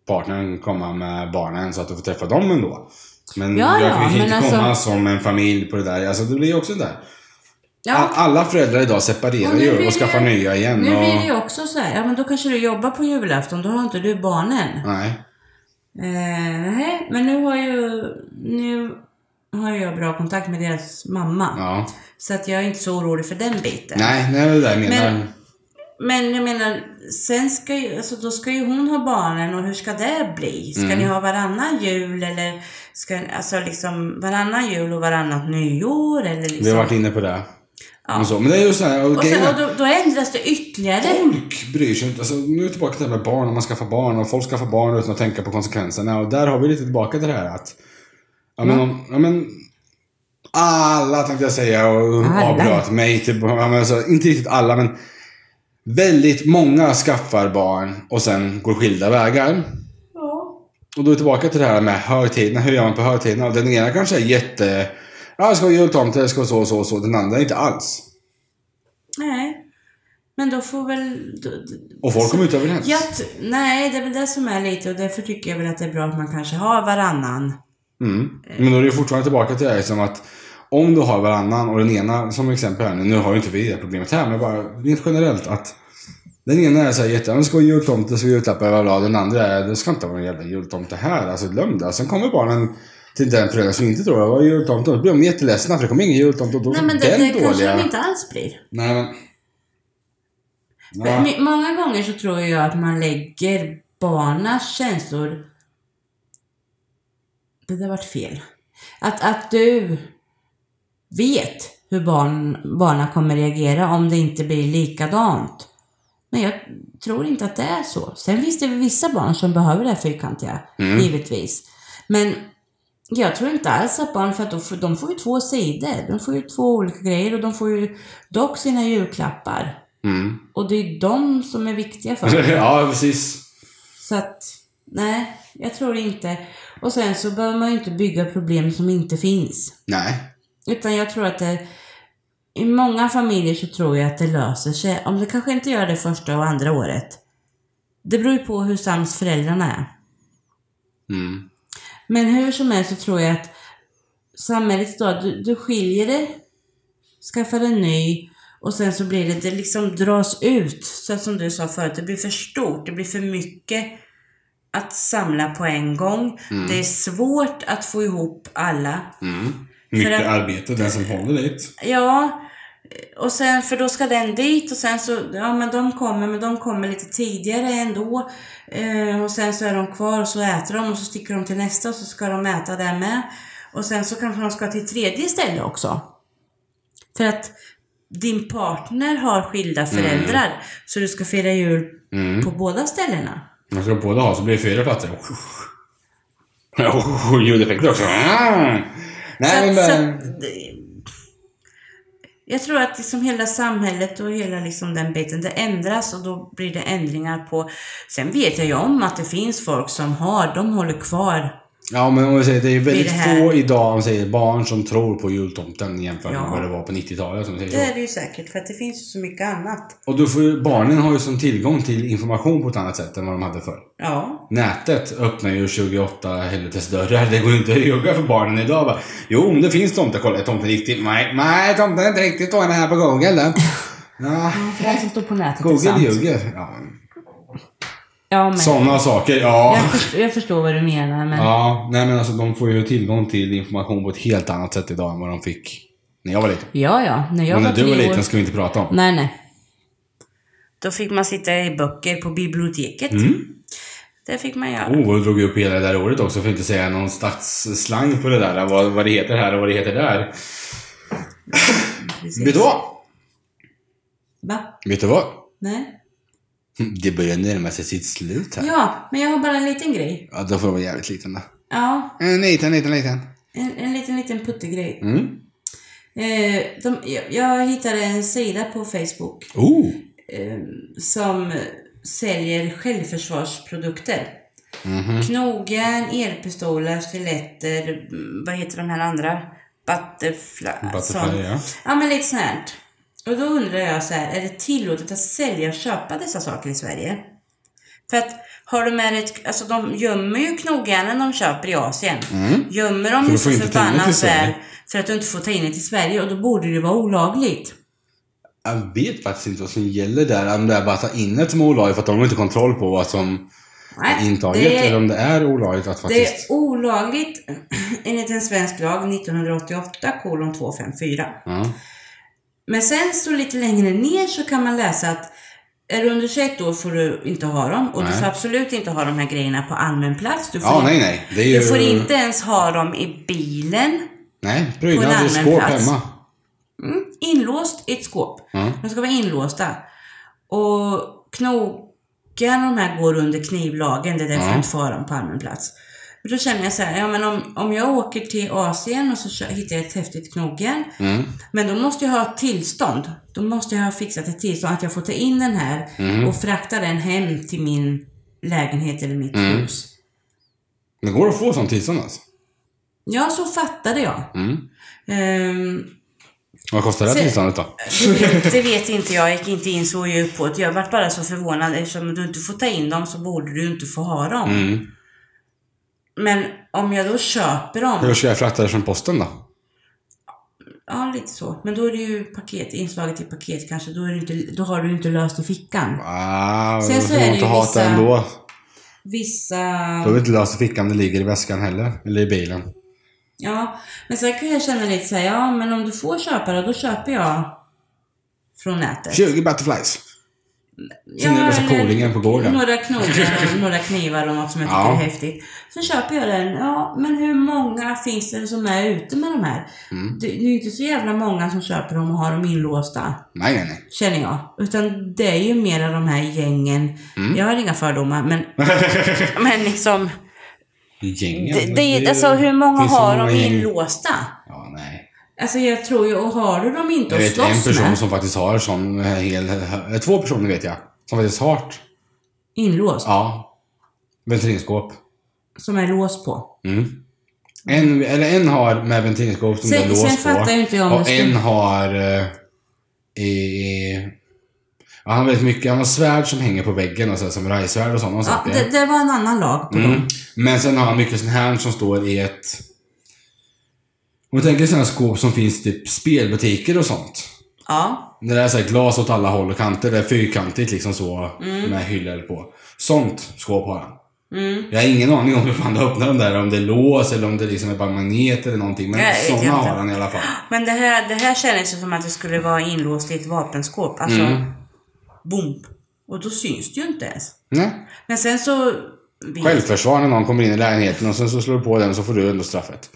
partnern komma med barnen så att du får träffa dem ändå. Men
Ja,
jag
ja,
kan ju
men
inte
alltså-
komma som en familj på det där. Alltså, det blir ju också där. All-
Ja,
Alla föräldrar idag separerar
Och nu
ju
blir
och
det-
skaffar nya igen.
nu
och...
blir det ju också så här. Ja, men då kanske du jobbar på julafton. Då har inte du barnen.
Nej.
Eh, nej, men nu har ju... Nu har jag bra kontakt med deras mamma.
Ja.
Så att jag är inte så orolig för den biten.
Nej, nej, det är det jag menar.
Men- Men jag menar, sen ska ju, alltså då ska ju hon ha barnen och hur ska det bli?
Mm.
Ska ni ha varannan jul eller ska, alltså liksom varannan jul och varannat nyår eller liksom?
Vi har varit inne på det.
Ja.
Och så. Men det är ju så här, och
och
grejen
sen,
är
och då, då ändras det ytterligare.
folk bryr sig inte. Alltså, nu är vi tillbaka till det här med barn, och man skaffar barn och folk skaffar barn utan att tänka på konsekvenserna. Och där har vi lite tillbaka till det här att... Ja men, om, ja, men alla tänkte jag säga och
Alla.
avbröt mig. Typ, ja, men, alltså, inte riktigt alla men väldigt många skaffar barn och sen går skilda vägar.
Ja.
Och då är vi tillbaka till det här med högtiderna. Hur gör man på högtiderna? Och den ena kanske är jätte... Ja, det ska vara jultomte, det ska vara så och så och så. Den andra inte alls.
Nej. Men då får väl... Då,
Och folk kommer inte överens.
jag, t- nej, det är väl det som är lite och därför tycker jag väl att det är bra att man kanske har varannan.
Mm. Men då är det fortfarande tillbaka till det här liksom att om du har varannan och den ena, som exempel här nu, nu har ju inte vi det problemet här, men bara rent generellt att den ena är såhär jätte, det ska vara jultomte, det ska vara julklappar, bla, bla. Den andra är, det ska inte vara någon jävla jultomte här, alltså glöm det. Sen kommer barnen till den föräldern som inte tror det var jultomte och då blir de jätteledsna för det kommer ingen jultomte och då
Nej, men det,
den
det kanske
dåliga.
de inte alls blir.
Nej men... Ja.
Men Många gånger så tror jag att man lägger barnas känslor... Det där vart fel. Att, att du vet hur barn, barna kommer reagera om det inte blir likadant. Men jag tror inte att det är så. Sen finns det vissa barn som behöver det här fyrkantiga, givetvis. Men jag tror inte alls att barn, för att de får, de får ju två sidor. De får ju två olika grejer och de får ju dock sina julklappar.
Mm.
Och det är ju de som är viktiga för dem.
ja, precis.
Så att, nej, jag tror inte. Och sen så behöver man ju inte bygga problem som inte finns.
Nej.
Utan jag tror att det, i många familjer så tror jag att det löser sig. Om det kanske inte gör det första och andra året. Det beror ju på hur sams föräldrarna är.
Mm.
Men hur som helst så tror jag att samhället idag, du, du skiljer dig, skaffar en ny och sen så blir det, det liksom dras ut. Så att som du sa förut, det blir för stort, det blir för mycket att samla på en gång. Det är svårt att få ihop alla.
Mycket
att-
arbete, den som håller dit.
Ja, och sen för då ska den dit och sen så, ja men de kommer, men de kommer lite tidigare ändå. Eh, och sen så är de kvar och så äter de och så sticker de till nästa och så ska de äta där med. Och sen så kanske de ska till tredje ställe också. För att din partner har skilda föräldrar så du ska fira jul på båda ställena.
Man ska båda ha så blir det fyra platser. Och Ljudeffekter också. Mm.
Så
Nej,
att- så
men...
att det- jag tror att liksom hela samhället och hela liksom den biten, det ändras och då blir det ändringar på... Sen vet jag ju om att det finns folk som har, de håller kvar.
Ja, men om vi säger, det är väldigt
det här-
få idag, om vi säger barn, som tror på jultomten jämfört med
Ja. Eh.
vad det var på 90-talet. Som säger
Det
så.
är det ju säkert, för att det finns ju så mycket annat.
Och då får, barnen har ju som tillgång till information på ett annat sätt än vad de hade förr.
Ja.
Nätet öppnar ju 28 helvetes dörrar. Det går inte att ljuga för barnen idag. Bara, jo, men det finns tomtar. Kolla, är tomten riktigt? Nej, nej tomten är inte riktigt vad den här på Google. eller? Ja,
För det som står på nätet
Google ljuger. Ja.
Ja, men
Sådana saker, ja.
jag, förstår, jag förstår vad du menar, men
Ja, nej men alltså de får ju tillgång till information på ett helt annat sätt idag än vad de fick när jag var liten.
ja, ja. När jag
Och
var
när du var
tre år...
liten ska vi inte prata om.
Nej, nej.
Då fick man sitta i böcker på biblioteket. Det fick man göra.
Oh, och du drog upp hela det där ordet också för att inte säga någon stadsslang på det där. Vad, vad det heter här och vad det heter där.
Precis.
Vet du vad?
Va?
Vet du vad?
Nej?
Det börjar närma sig sitt slut här.
Ja, men jag har bara en liten grej.
Ja, då får det vara jävligt liten då.
Ja,
En Eh, liten, liten, liten.
en, en liten, liten puttegrej.
Mm.
Eh, de, jag, jag hittade en sida på Facebook
Oh!
eh, som säljer självförsvarsprodukter.
Mhm.
Knogjärn, elpistoler, stiletter, mm, vad heter de här andra? Butterfly. sånt.
Butterfly, ja.
ja, men lite sånt här. Och då undrar jag så här, är det tillåtet att sälja och köpa dessa saker i Sverige? För att har du med dig ett, alltså de gömmer ju knogjärnen de köper i Asien. Gömmer de
Mm. du
ju
får
så
inte ta in det till
förbannat
Sverige.
väl för att du inte får ta in det till Sverige och då borde det ju vara olagligt.
Jag vet faktiskt inte vad som gäller där. Om det är bara att ta in ett som är olagligt för att de har inte kontroll på vad som är
Nej,
intaget.
Eh, det-
Eller om det är olagligt att
Det är
faktiskt...
olagligt enligt en svensk lag 1988 kolon 254.
Ja.
Men sen så lite längre ner så kan man läsa att är du under 21 år får du inte ha dem och
Nej.
du får absolut inte ha de här grejerna på allmän plats. Du får,
ja,
inte,
nej, nej. Det är ju...
Du Alltså, får inte ens ha dem i bilen,
Nej,
på en
prydnad
allmän
och skåp
plats.
hemma.
mm, inlåst i ett skåp.
Ja.
De ska vara inlåsta. Och knogarna de här går under knivlagen, det är därför
Ja.
jag inte får ha dem på allmän plats. Men då känner jag så här, ja men om, om jag åker till Asien och så kö- hittar jag ett häftigt knogjärn
Mm.
Men då måste jag ha ett tillstånd. Då måste jag ha fixat ett tillstånd att jag får ta in den här
Mm.
och frakta den hem till min lägenhet eller mitt
Mm.
hus.
Det går att få sånt tillstånd alltså.
Ja, så fattade jag.
Mm.
Ehm,
Vad kostar det här
Se-
tillståndet då?
Det vet- Det vet inte jag. Jag gick inte in så djupt på det. Jag vart bara så förvånad. Eftersom du inte får ta in dem så borde du inte få ha dem.
Mm.
Men om jag då köper
Hur
dem.
ska jag frakta det från posten då?
ja, lite så. Men då är det ju paket, inslaget i paket kanske. Då, är det inte, då har du ju inte löst i fickan.
Ah,
Sen
Sen
så
så
är det
inte
ju
hata
vissa-
ändå.
Vissa...
Då har vi inte löst i fickan, det ligger i väskan heller. Eller i bilen.
Ja, men sen kan jag känna lite så här, ja men om du får köpa det, då köper jag från nätet.
20 butterflies. Sen är det så coolingen på gården.
Några knogar, några knivar och något som jag tycker
Ja.
är häftigt. Så köper jag den. Ja, men hur många finns det som är ute med de här?
Mm.
Det, det är ju inte så jävla många som köper dem och har dem inlåsta,
Nej, nej, nej.
känner jag. Utan det är ju mera de här gängen.
Mm.
Jag har inga fördomar, men, men liksom. Det,
Gängen.
det, alltså hur många
finns så
har
många
de
gäng.
inlåsta?
Ja, nej.
Alltså jag tror ju, och har du dem inte
Jag
att
vet en
slåss
person
med,
som faktiskt har sån eh, hel... eh, Två personer vet jag. Som faktiskt har...
inlåst,
Ja. Ventilskåp.
som är lås på.
Mm. En, eller en har med ventilskåp som det är
Sen, sen
lås på.
fattar ju inte jag om det
Och en
skulle...
har... eh, I, i, ja, han har väldigt mycket. Han har svärd som hänger på väggen och så här samurajsvärd och sådana
Ja,
saker.
det, det var en annan lag på
Mm.
dem.
Men sen har han mycket sån här som står i ett... Om du tänker sådana skåp som finns i typ spelbutiker och sånt.
Ja.
Det där är så här glas åt alla håll och kanter. Det är fyrkantigt liksom så med hyllor på. Sånt skåp har han.
Mm.
Jag har ingen aning om hur fan du öppnar dem där. Om det är lås eller om det liksom är bara magnet eller någonting. Men
Nej, det vet
såna
jag
har
inte.
han i alla fall.
Men det här, det här kändes ju som att det skulle vara inlåst i ett vapenskåp. Alltså,
Mm.
boom. Och då syns det ju inte ens.
Nej.
Men sen så...
Självförsvar när någon kommer in i lägenheten och sen så slår du på den så får du ändå straffet.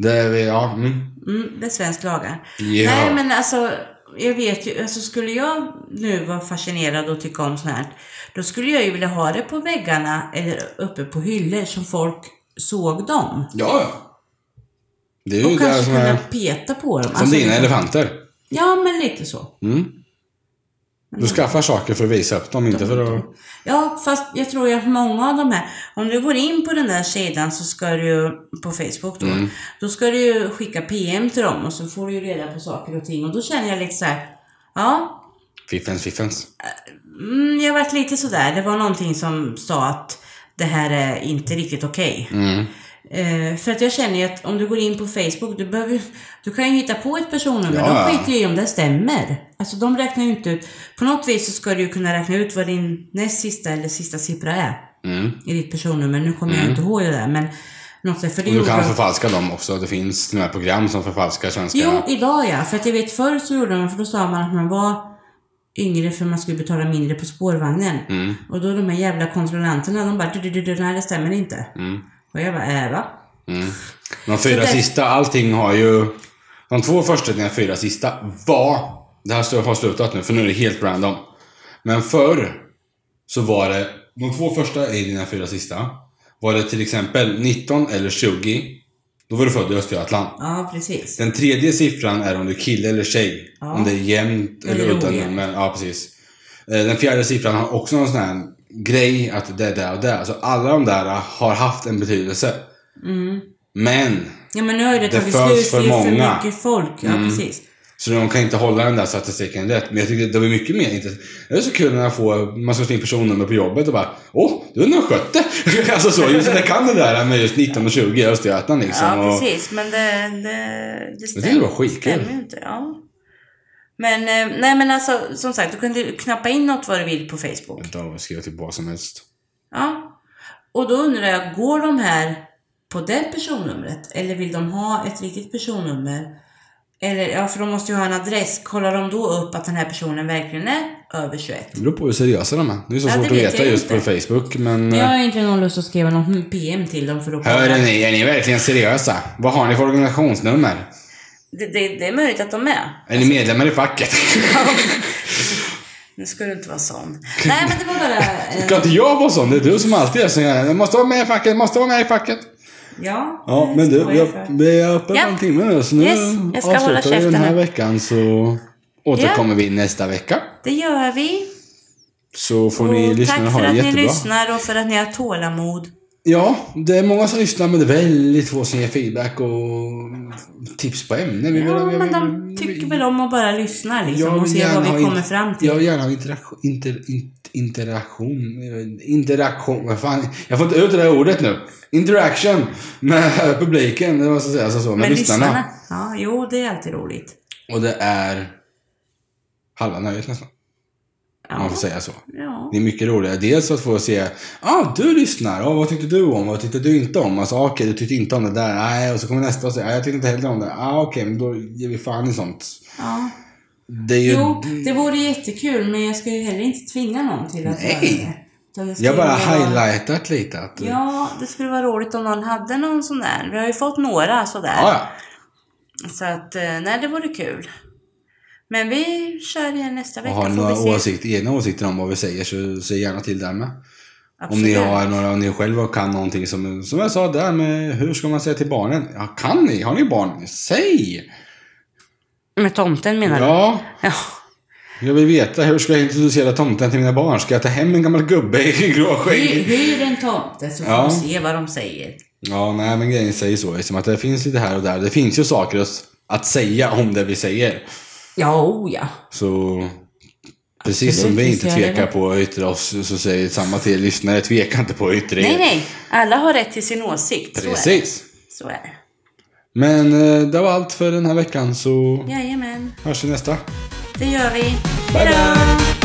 Det är, vi- ja, mm.
Mm, det är svensk lagar.
Ja.
Nej men alltså, jag vet ju, alltså skulle jag nu vara fascinerad och tycka om sånt här, då skulle jag ju vilja ha det på väggarna eller uppe på hyllor som folk såg dem.
Ja, ja. Det är ju
Och
det här
kanske
som
kunna
är...
peta på dem. Alltså, liksom.
Som dina elefanter.
Ja, men lite så.
Mm. Du
Mm.
skaffar saker för att visa upp dem, inte för att...
Ja, fast jag tror ju att många av de här, om du går in på den där sidan så ska du ju, på Facebook då, då ska du ju skicka PM till dem och så får du ju reda på saker och ting och då känner jag lite så här, ja,
Fiffens, fiffens.
Mm, jag varit lite sådär. Det var någonting som sa att det här är inte riktigt okej.
Mm.
Eh, för att jag känner ju att om du går in på Facebook, du, behöver, ju- du kan ju hitta på ett personnummer.
Ja,
De
ja.
skiter ju i om det stämmer. Alltså de räknar ju inte ut. På något vis så ska du ju kunna räkna ut vad din näst sista eller sista siffra är
Mm.
i ditt personnummer. Nu kommer jag inte ihåg det där, men något sätt, för det
Och du
gjorde
kan alltså
de-
förfalska dem också. Det finns de här program som förfalskar svenska.
Jo, idag ja. För att jag vet förr så gjorde man, för då sa man att man var yngre för man skulle betala mindre på spårvagnen.
Mm.
Och då de här jävla kontrollanterna, de bara du, du, du, du, nej det stämmer inte.
Mm.
Och jag bara, äh va?
Mm. De fyra
det-
sista, allting har ju... De två första till de fyra sista var... Det här har slutat nu, för nu är det helt random. Men förr så var det... De två första i dina fyra sista var det till exempel 19 eller 20. Då var du född i Östergötland.
Ja, precis.
Den tredje siffran är om du är kille eller tjej.
Ja.
Om det är jämnt eller,
Eller
udda
ojämnt.
nummer. Ja, precis. Eh, Den fjärde siffran har också någon sån här grej att det är det och det. Alltså alla de där har haft en betydelse.
Mm.
Men,
Ja, men nu har ju det
Det
tagit
föds
slut,
för
det är ju
många. Mm.
för mycket folk. Ja, precis.
så de kan inte hålla den där statistiken rätt. Men jag tycker det var mycket mer inte. Det är så kul när jag får, man slår in personnummer på jobbet och bara Åh, du är nog skötte! alltså så, just det kan det där med just 19 och 20 i Östergötland liksom.
Ja,
och,
precis. Men det, det, det
tyckte det var skitkul.
stämmer ju inte. Ja. Men, eh, nej men alltså, som sagt, du kan ju knappa in något vad du vill på Facebook.
Vänta, jag skriver typ vad som helst.
Ja. Och då undrar jag, går de här på det personnumret? Eller vill de ha ett riktigt personnummer? Eller, ja, för de måste ju ha en adress. Kollar de då upp att den här personen verkligen är över 21?
Det beror på hur seriösa de är. Det är så
Ja,
svårt
det
att
vet
veta
jag
just på
inte.
Facebook men... eh,
Jag har ju inte någon lust att skriva någon PM till dem för att kolla.
Hör ni, är ni verkligen seriösa? Vad har ni för organisationsnummer?
Det, det, det är möjligt att de är.
Är ni medlemmar i facket?
Nu ska du inte vara sån. Nej, men det var bara... Eh,
Ska inte jag vara sån? Det är du som alltid är sån. Jag måste vara med i facket, måste vara med i facket.
ja,
Ja,
det
men du,
står jag för.
jag, vi är uppe
Ja.
på en timme nu. Så nu
Yes, jag ska hålla
avslutar vi den
käften
här
nu.
veckan så återkommer vi nästa vecka.
Det gör vi.
Så får ni
Och
lyssna och
tack
ha
för
det
att ni
jättebra.
lyssnar och för att ni har tålamod.
Ja, det är många som lyssnar men det är väldigt få som ger feedback och tips på ämnen. Vi
Ja,
vill- vi-
men
vi-
de tycker väl om att bara lyssna liksom och
vill
se
gärna
vad vi
ha in-
kommer fram till.
Jag vill gärna ha interaktion, inter, in, interaktion, eh, interaktion, vad fan, jag får inte ut det där ordet nu. Interaction med publiken, det måste jag säga, så, så med,
Men
lyssnarna.
lyssnarna. Ja, jo, det är alltid roligt.
Och det är halva nöjet nästan, om man
Ja.
får säga så.
ja.
Det är mycket roligare. Dels att få se, ah du lyssnar, ah, vad tyckte du om, vad tyckte du inte om? Alltså ah, okej, du tyckte inte om det där, nej, och så kommer nästa och säger, ah, jag tyckte inte heller om det, ah okej, men då ger vi fan i sånt.
ja.
Det är ju...
Jo, det vore jättekul, men jag ska ju heller inte tvinga någon till att
Nej.
göra det. Utan det. skulle
jag bara
vara-
highlightat lite att... Ja,
Ja, det skulle vara roligt om någon hade någon sån där. Vi har ju fått några sådär.
"Ah, ja.
Så att, eh, nej, det vore kul. Men vi kör igen nästa
Och
vecka.
har ni några
får vi se.
åsikter, egna åsikter om vad vi säger så säg gärna till där med. Om
Absolut.
ni har några, om ni själva kan någonting som, som jag sa där med hur ska man säga till barnen? Ja, kan ni? Har ni barn? Säg!
Med tomten menar du?
Ja,
Ja.
jag vill veta hur ska jag introducera tomten till mina barn? Ska jag ta hem en gammal gubbe i grå
Hy-
skägg?
Hyr en tomte så får
Ja.
vi se vad de säger.
Ja, nej men grejen säger så liksom att det finns lite här och där. Det finns ju saker att, att säga om det vi säger.
Ja, oh ja.
Så precis som
Absolut,
vi
visst
inte
gör det
tvekar
det.
på att yttra oss så säger samma till er lyssnare, tveka inte på att yttra er.
Nej, nej. Alla har rätt till sin åsikt. Så är det.
Precis.
Så är det.
Men eh, det var allt för den här veckan så
Jajamän,
hörs vi nästa.
det gör vi.
Bye,
Hejdå!
bye.